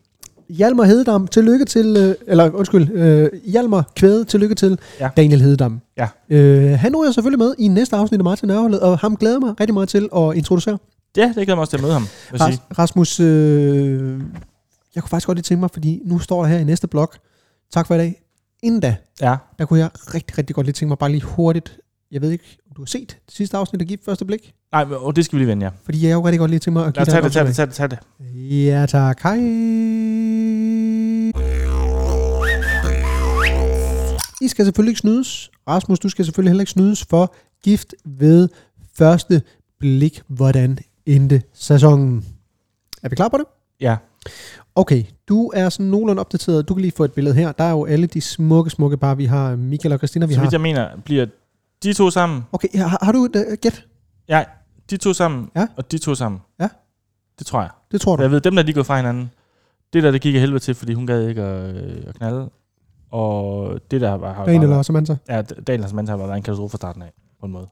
Hjalmar Hededam, tillykke til, øh, eller undskyld, øh, Hjalmar Kvæde, tillykke til ja.
Ja.
Daniel Hededam.
Ja.
Øh, han nu er selvfølgelig med i næste afsnit af Martin Nørholdet, og ham glæder jeg mig rigtig meget til at introducere.
ja, det glæder jeg mig også til at møde ham. Vil jeg sige.
Ras- Rasmus, øh, jeg kunne faktisk godt lide tænke mig, fordi nu står der her i næste blog. Tak for i dag. Inden da,
Ja.
der kunne jeg rigtig, rigtig godt lige tænke mig bare lige hurtigt. Jeg ved ikke, om du har set det sidste afsnit af Gift Første Blik?
Nej, men- og det skal vi lige vende, ja.
Fordi jeg kunne rigtig godt lige tænke mig at
Lad
give
os
dig
tage
en
det, tage det,
opsummering.
tage det, tage det.
Ja tak, hej. I skal selvfølgelig ikke snydes. Rasmus, du skal selvfølgelig heller ikke snydes for gift ved første blik, hvordan endte sæsonen. Er vi klar på det?
Ja.
Okay, du er sådan nogenlunde opdateret. Du kan lige få et billede her. Der er jo alle de smukke, smukke par. Vi har Michael og Christina. Vi
Så
har...
vidt jeg mener, bliver de to sammen,
Okay, har, har du et uh, gæt?
ja, de to sammen,
Ja.
og de to sammen.
Ja.
Det tror jeg.
Det tror
For
du.
jeg ved, dem der lige gået fra hinanden, det der, det gik af helvede til, fordi hun gad ikke at, øh, at knalde. Og det der var... Har
Daniel eller Samantha.
Ja, Daniel og Samantha har været en katastrofe fra starten af, på en måde.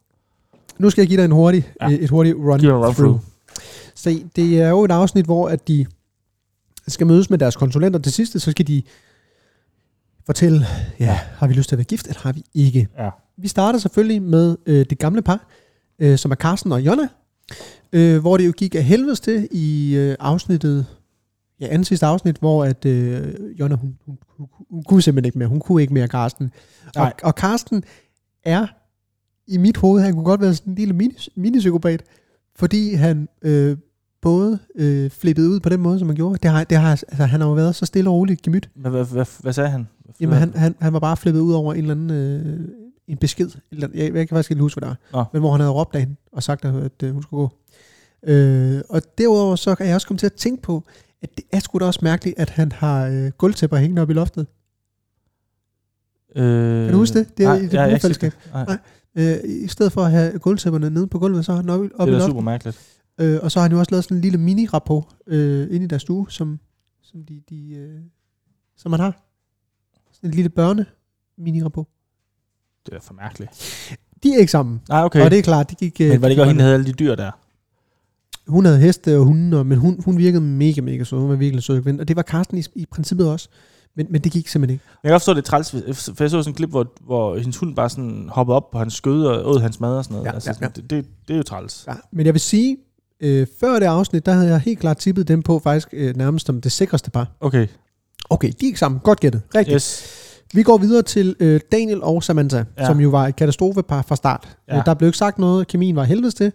Nu skal jeg give dig en hurtig,
Ja.
et hurtigt run,
Giv mig en run-through.
Se, det er jo et afsnit, hvor at de skal mødes med deres konsulenter. Til sidste, så skal de fortælle, ja, har vi lyst til at være gift, eller har vi ikke?
Ja.
Vi starter selvfølgelig med øh, det gamle par, øh, som er Carsten og Jonna, øh, hvor det jo gik af helvedes til i øh, afsnittet, ja, anden sidste afsnit, hvor at øh, Jonna, hun, hun, hun, hun kunne simpelthen ikke mere. Hun kunne ikke mere Carsten. Og,
Nej.
og Carsten er i mit hoved, han kunne godt være sådan en lille mini, minipsykopat, fordi han øh, både øh, flippede ud på den måde, som han gjorde. Det har, det har, altså, han har jo været så stille og roligt gemyt.
Hvad, hvad, hvad, hvad sagde han?
Jamen, han, han, han var bare flippet ud over en eller anden øh, en besked. Eller, jeg, jeg kan faktisk ikke huske, hvad det var.
Nå.
Men hvor han havde råbt af hende og sagt, at, at øh, hun skulle gå. Øh, og derudover så er jeg også kommet til at tænke på, at det er sgu da også mærkeligt, at han har øh, gulvtæpper hængende op i loftet.
Øh,
Kan du huske det? Det er
nej,
i
jeg-
det
jeg
gode
ikke set
fællesskab.
det. Nej,
Nej, Øh, I stedet for at have gulvtæpperne nede på gulvet, så har han op, op i
det er da
loftet.
super mærkeligt.
Øh, og så har han jo også lavet sådan en lille mini-rapport øh, inde i deres stue, som, som, de, de, øh, som han har. Sådan en lille børne-mini-rapport.
Det er da for mærkeligt.
De er ikke sammen.
Nej, okay.
Okay. Og det er klart, det gik... øh,
Men var det ikke
gik
også hende, der
godt.
havde alle de dyr der?
Hun havde heste og hunde, og, men hun, hun virkede mega, mega sød. Hun var virkelig en sød kvinde. Og det var Karsten i, i princippet også. Men, men det gik simpelthen ikke.
Jeg kan godt forstå, det er træls, hvis- for jeg så sådan et klip, hvor, hvor hendes hund bare sådan hoppede op på hans skød og åd hans mad og sådan noget.
Ja,
altså,
ja,
sådan, Det, det, det er jo træls.
Ja. Men jeg vil sige, øh, før det afsnit, der havde jeg helt klart tippet dem på faktisk øh, nærmest som det sikreste par.
Okay,
Okay, de er ikke sammen. Godt gættet. Rigtigt.
yes.
Vi går videre til øh, Daniel og Samantha, ja.
Ja.
som jo var et katastrofepar fra start. Ja.
Ja.
Øh, der blev ikke sagt noget, kemien var helvedes til.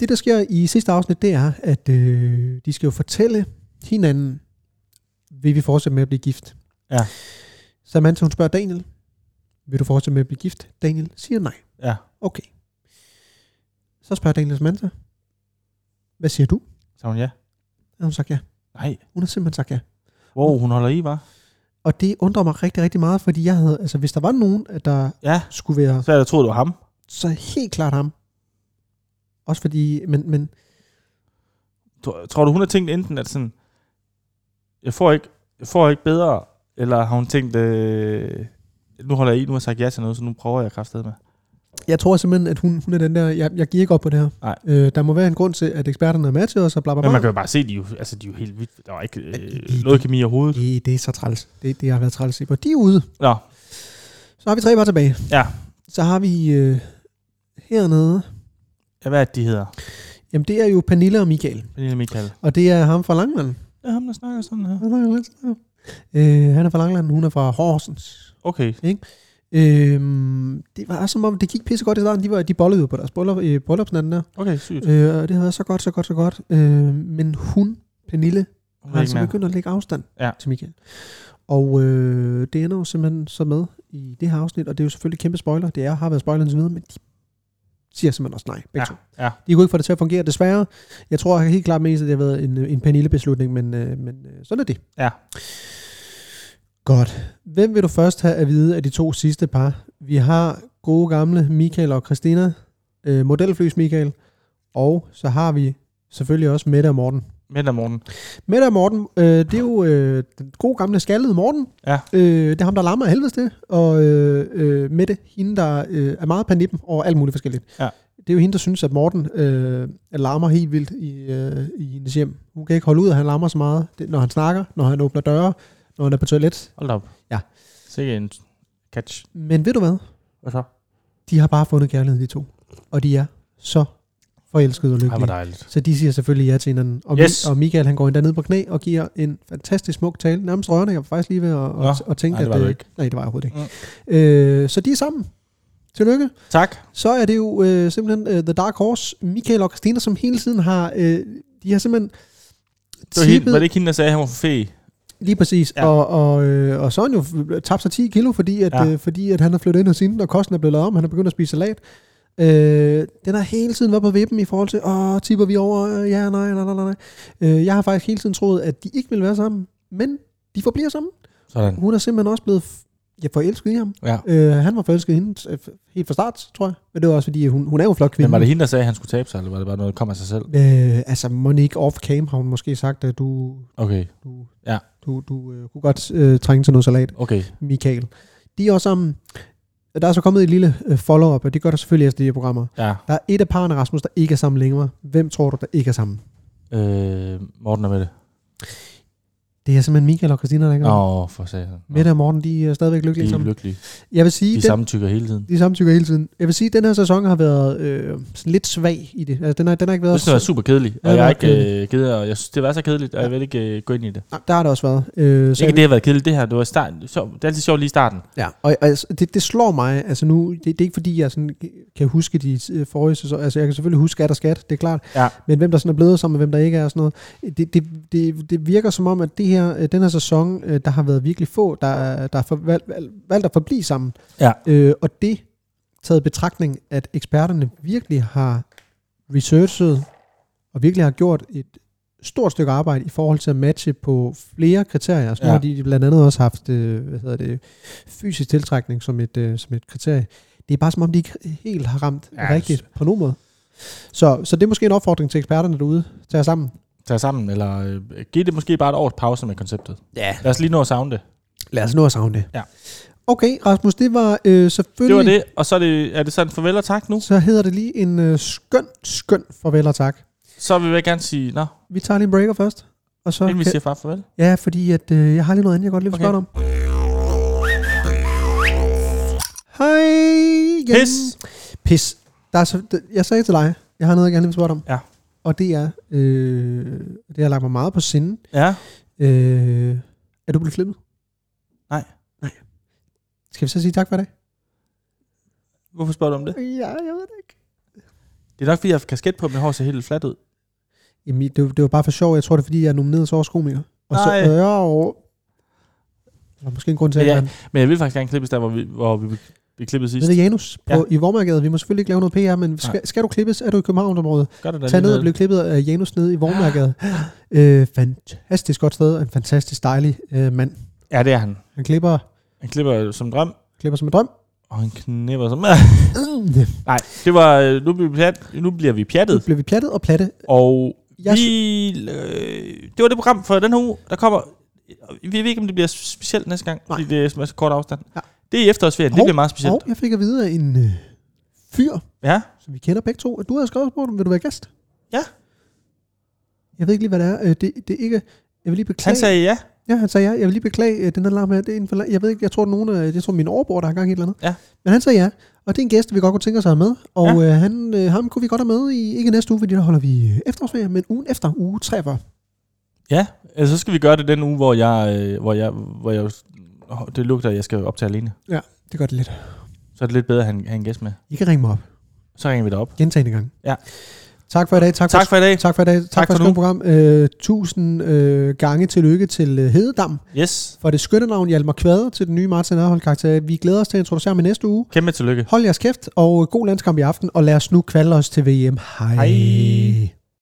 Det, der sker i sidste afsnit, det er, at øh, de skal jo fortælle hinanden, vil vi fortsætte med at blive gift?
Ja.
Samantha, hun spørger Daniel, vil du fortsætte med at blive gift? Daniel siger nej.
Ja.
Okay. Så spørger Daniel Samantha, hvad siger du?
Så hun ja.
Og hun har sagt ja.
Nej.
Hun har simpelthen sagt ja.
Wow, hun holder i, var.
Og det undrer mig rigtig, rigtig meget, fordi jeg havde, altså hvis der var nogen, at der
Ja,
skulle være
så havde jeg troet, det var ham.
så helt klart ham. Også fordi, men, men
Tror- Tror du, hun har tænkt enten, at sådan, jeg får ikke, jeg får ikke bedre, eller har hun tænkt, øh, nu holder jeg i, nu har jeg sagt ja til noget, så nu prøver jeg kraftedet med.
jeg tror simpelthen, at hun, hun er den der, jeg, jeg giver ikke op på det her.
Nej.
Øh, der må være en grund til, at eksperterne er med til os og bla bla
Men man
bla.
kan jo bare se, de er jo, altså, de er jo helt vildt. Der var ikke
Ja, de-
øh,
de-
noget kemi i hovedet.
Det, det er så træls. Det, det har været træls. Og de er ude.
Nå,
Så har vi tre bare tilbage.
Ja.
Så har vi øh, hernede.
ja, hvad er det, de hedder?
Jamen det er jo Pernille og Michael.
Pernille og Michael.
Og det er ham fra Langland.
Det er ham, der snakker sådan her.
Han snakker lidt sådan her. Øh, han er fra Langland, hun er fra Horsens.
Okay,
Øhm, det var som om, det gik pisse godt i starten. De, var, de bollede jo på deres bryllup, øh, bryllupsnatten der.
Okay, sygt.
Øh, og det havde været så godt, så godt, så godt. Øh, men hun, Pernille,
Hun
har
er ikke
altså
med.
begyndt at lægge afstand
Ja.
ja. til Michael. Og øh, det ender jo simpelthen så med i det her afsnit, og det er jo selvfølgelig kæmpe spoiler. Det er, har været spoiler indtil videre, men de siger simpelthen også nej. Begge
Ja,
to.
ja.
De kunne ikke få det til at fungere, desværre. Jeg tror helt klart mest, at det har været en, en Pernille-beslutning, men, øh, men øh, sådan er det.
Ja.
Godt. Hvem vil du først have at vide af de to sidste par? Vi har gode gamle Michael og Christina, øh, modelflys Michael, og så har vi selvfølgelig også Mette og Morten.
Midt om morgenen.
Mette og Morten, øh, det er jo øh, den gode gamle skaldede Morten.
Ja.
Øh, det er ham, der larmer af helvedes til. Og øh, øh, Mette, hende, der øh, er meget panippen over alt muligt forskelligt.
Ja.
Det er jo hende, der synes, at Morten øh, larmer helt vildt i, øh, i hendes hjem. Hun kan ikke holde ud, at han larmer så meget, det, når han snakker, når han åbner døre, når han er på toilet.
Hold da op.
Ja.
Sikke en catch.
Men ved du hvad?
Hvad så?
De har bare fundet kærlighed, de to. Og de er så forelskede og
Ej, hvor
lykkelige.
dejligt.
Så de siger selvfølgelig ja til hinanden. Og,
Yes.
yes. og Michael, han går endda ned på knæ og giver en fantastisk smuk tale. Nærmest rørende. Jeg var faktisk lige ved at,
Nå,
at, at tænke,
nej, det var
at...
du
øh,
ikke. Mm.
Nej, det var jeg overhovedet ikke. Øh, så de er sammen. Tillykke.
Tak.
Så er det jo øh, simpelthen øh, The Dark Horse, Michael og Christina, som hele tiden har... Øh, de har simpelthen
Det var, hende,
tippet-
var det ikke hende, der sagde, at han var for fæ?
Lige præcis.
Ja.
Ja. Og, og, øh, og så er han jo f- tabt sig 10 kilo, fordi at,
Ja.
ja. øh, fordi at han har flyttet ind hos hende, og kosten er blevet lavet om. Han er begyndt at spise salat. Øh, den har hele tiden været på vippen i forhold til, åh, tipper vi over? Øh, Ja, nej, nej, nej, nej. Øh, jeg har faktisk hele tiden troet, at de ikke ville være sammen, men de forbliver sammen.
Sådan.
Hun er simpelthen også blevet f- ja, forelsket i ham.
Ja.
Øh, han var forelsket i hende øh, f- helt fra start, tror jeg. Men det var også fordi, hun, hun er jo en flot kvinde.
Men var det hende, der sagde, at han skulle tabe sig, eller var det bare noget, der kom af sig selv?
Øh, altså, Monique off-cam har hun måske sagt, at du,
Okay,
du,
Ja.
du, du øh, kunne godt øh, trænge til noget salat.
okay.
Michael. De er også sammen. Der er så kommet et lille øh, follow-up, og det gør der selvfølgelig efter de her programmer.
Ja.
Der er et af parrene, Rasmus, der ikke er sammen længere. Hvem tror du, der ikke er sammen?
Øh, Morten og Mette.
Det er simpelthen Michael og Christina, der ikke er
Åh,
sammen.
oh, for satan. Nå,
Mette og Morten, de er stadigvæk
De
lykkelige
er
sammen.
lykkelige.
Jeg vil sige,
De
de, den,
samtykker hele tiden.
de samtykker hele tiden. Jeg vil sige, at den her sæson har været øh, sådan lidt svag i det. Altså, den har, den har ikke
Jeg
været...
synes, det var super kedeligt, og
Ja,
jeg
det
har
var
ikke øh, givet, og jeg synes, det var så kedeligt, og jeg vil ikke øh, gå ind i det.
Nej, ah, der har det også været. Øh,
Så ikke, det har været kedeligt, det her. Det, var i starten. Så, det er altid sjovt lige i starten.
Ja, og altså, det, det slår mig, altså nu, det, det er ikke fordi, jeg sådan kan huske de øh, forrige sæsoner, altså jeg kan selvfølgelig huske skat og skat, det er klart,
Ja.
men hvem der sådan er blevet sammen, og hvem der ikke er og sådan noget, det, det, det, det virker som om, at det her, øh, den her sæson, øh, der har været virkelig få, der, er- der har for, valg, valg, valgt at forblive sammen,
Ja.
øh, og det taget i betragtning, at eksperterne virkelig har researchet, og virkelig har gjort et stort stykke arbejde i forhold til at matche på flere kriterier. Altså,
Ja.
ja. de blandt andet også haft øh, hvad hedder det, fysisk tiltrækning som et, øh, som et kriterie. Det er bare som om, de ikke helt har ramt
Ja, altså.
ja, rigtigt på nogen måde. Så, så det er måske en opfordring til eksperterne derude. Tag jer sammen.
Tag sammen, eller øh, giv det måske bare et års pause med konceptet.
Ja.
Lad os lige nå at savne det.
Lad os altså, nu at savne det.
Ja.
Okay, Rasmus, det var øh,
Det var
selvfølgelig...
det, og så er det, er det sådan farvel og tak nu.
Så hedder det lige en øh, skøn, skøn farvel og tak.
Så vil jeg gerne sige, nå,
Vi tager lige en breaker først. Og så
inden vi siger far farvel.
Ja, fordi at, øh, jeg har lige noget andet, jeg godt lige vil
Okay.
okay. spørge dig om. Hej igen.
Pis!
Pis. Der er så, d- jeg sagde til dig, jeg har noget, jeg gerne lige vil spørge dig om.
Ja.
Og det er, øh, det har lagt mig meget på sinde.
Ja.
Øh, er du blevet klippet?
Nej.
Nej. Skal vi så sige tak for i dag?
Hvorfor spørger du om det?
Ja, jeg ved det ikke.
Det er nok, fordi jeg har kasket på, at mit hår ser helt fladt ud.
Jamen, det, var- det var bare for sjov. Jeg tror, det er, fordi jeg er nomineret til årets komiker. Og så
Nej.
ører over... Der er måske en grund til, at
Ja,
ja,
Men jeg vil faktisk gerne klippes der, hvor vi, hvor vi blev klippet sidst.
Nede ved Janus på,
Ja.
ja. i Vormarkedet. Vi må selvfølgelig ikke lave noget PR, men skal, skal du klippes? Er du i Københavnsområdet?
Gør det da
Tag
lige
ned og blive klippet af Janus nede i Vormarkedet. øh, fantastisk godt sted, og en fantastisk dejlig øh, mand.
Ja, det er han.
Han klipper,
Han klipper som en drøm,
klipper som en drøm.
og han knipper som...
Ja.
Nej, det var... øh, Nu bliver vi, pjat, nu bliver vi
Nu
pjattet,
bliver vi pjattet og platte.
og
Jeg sy-
vi, øh, det var det program for den her uge, der kommer... Vi ved ikke, om det bliver specielt næste gang,
Nej.
fordi det er så- så kort afstand. Ja.
Ja.
Det er efterårsferien, det
Hov,
bliver meget specielt.
Og jeg fik at vide af en øh, fyr,
Ja,
som vi kender begge to, at du havde skrevet på dem. Vil du være gæst?
Ja.
Jeg ved ikke lige, hvad det er. Øh, Det, det er ikke... Jeg vil lige beklage...
han sagde ja.
Ja, han sagde ja. Jeg vil lige beklage øh, den her larm her. Det er en forla- jeg ved ikke, jeg tror, nogen, af- jeg tror min overbror, der har gang i et eller andet.
Ja.
Men han sagde ja. Og det er en gæst, vi godt kunne tænke os at have med. Og ja. øh, han, øh, ham kunne vi godt have med i, ikke næste uge, fordi der holder vi øh, efterårsferie, men ugen efter, uge 43.
Ja, altså, så skal vi gøre det den uge, hvor jeg, øh, hvor jeg, hvor jeg åh, det lugter, at jeg skal optage alene.
Det gør det lidt.
Så er det lidt bedre at have en, have en gæst med.
I kan ringe mig op.
Så ringer vi dig op.
Gentagende gang.
Ja.
Tak for i dag. Tak,
Tak for i dag.
for, tak for i dag. Tak,
Tak
for,
for
for
nu.
et skønt program. Øh, tusind øh, gange tillykke til øh, Hededam
Yes.
for det skønne navn Hjalmar Kvade til den nye Martin Erhold karakter. Vi glæder os til at introducere ham i næste uge.
Kæmpe tillykke.
Hold jeres kæft, og god landskamp i aften, og lad os nu kvalde os til VM. Hej.
Hej.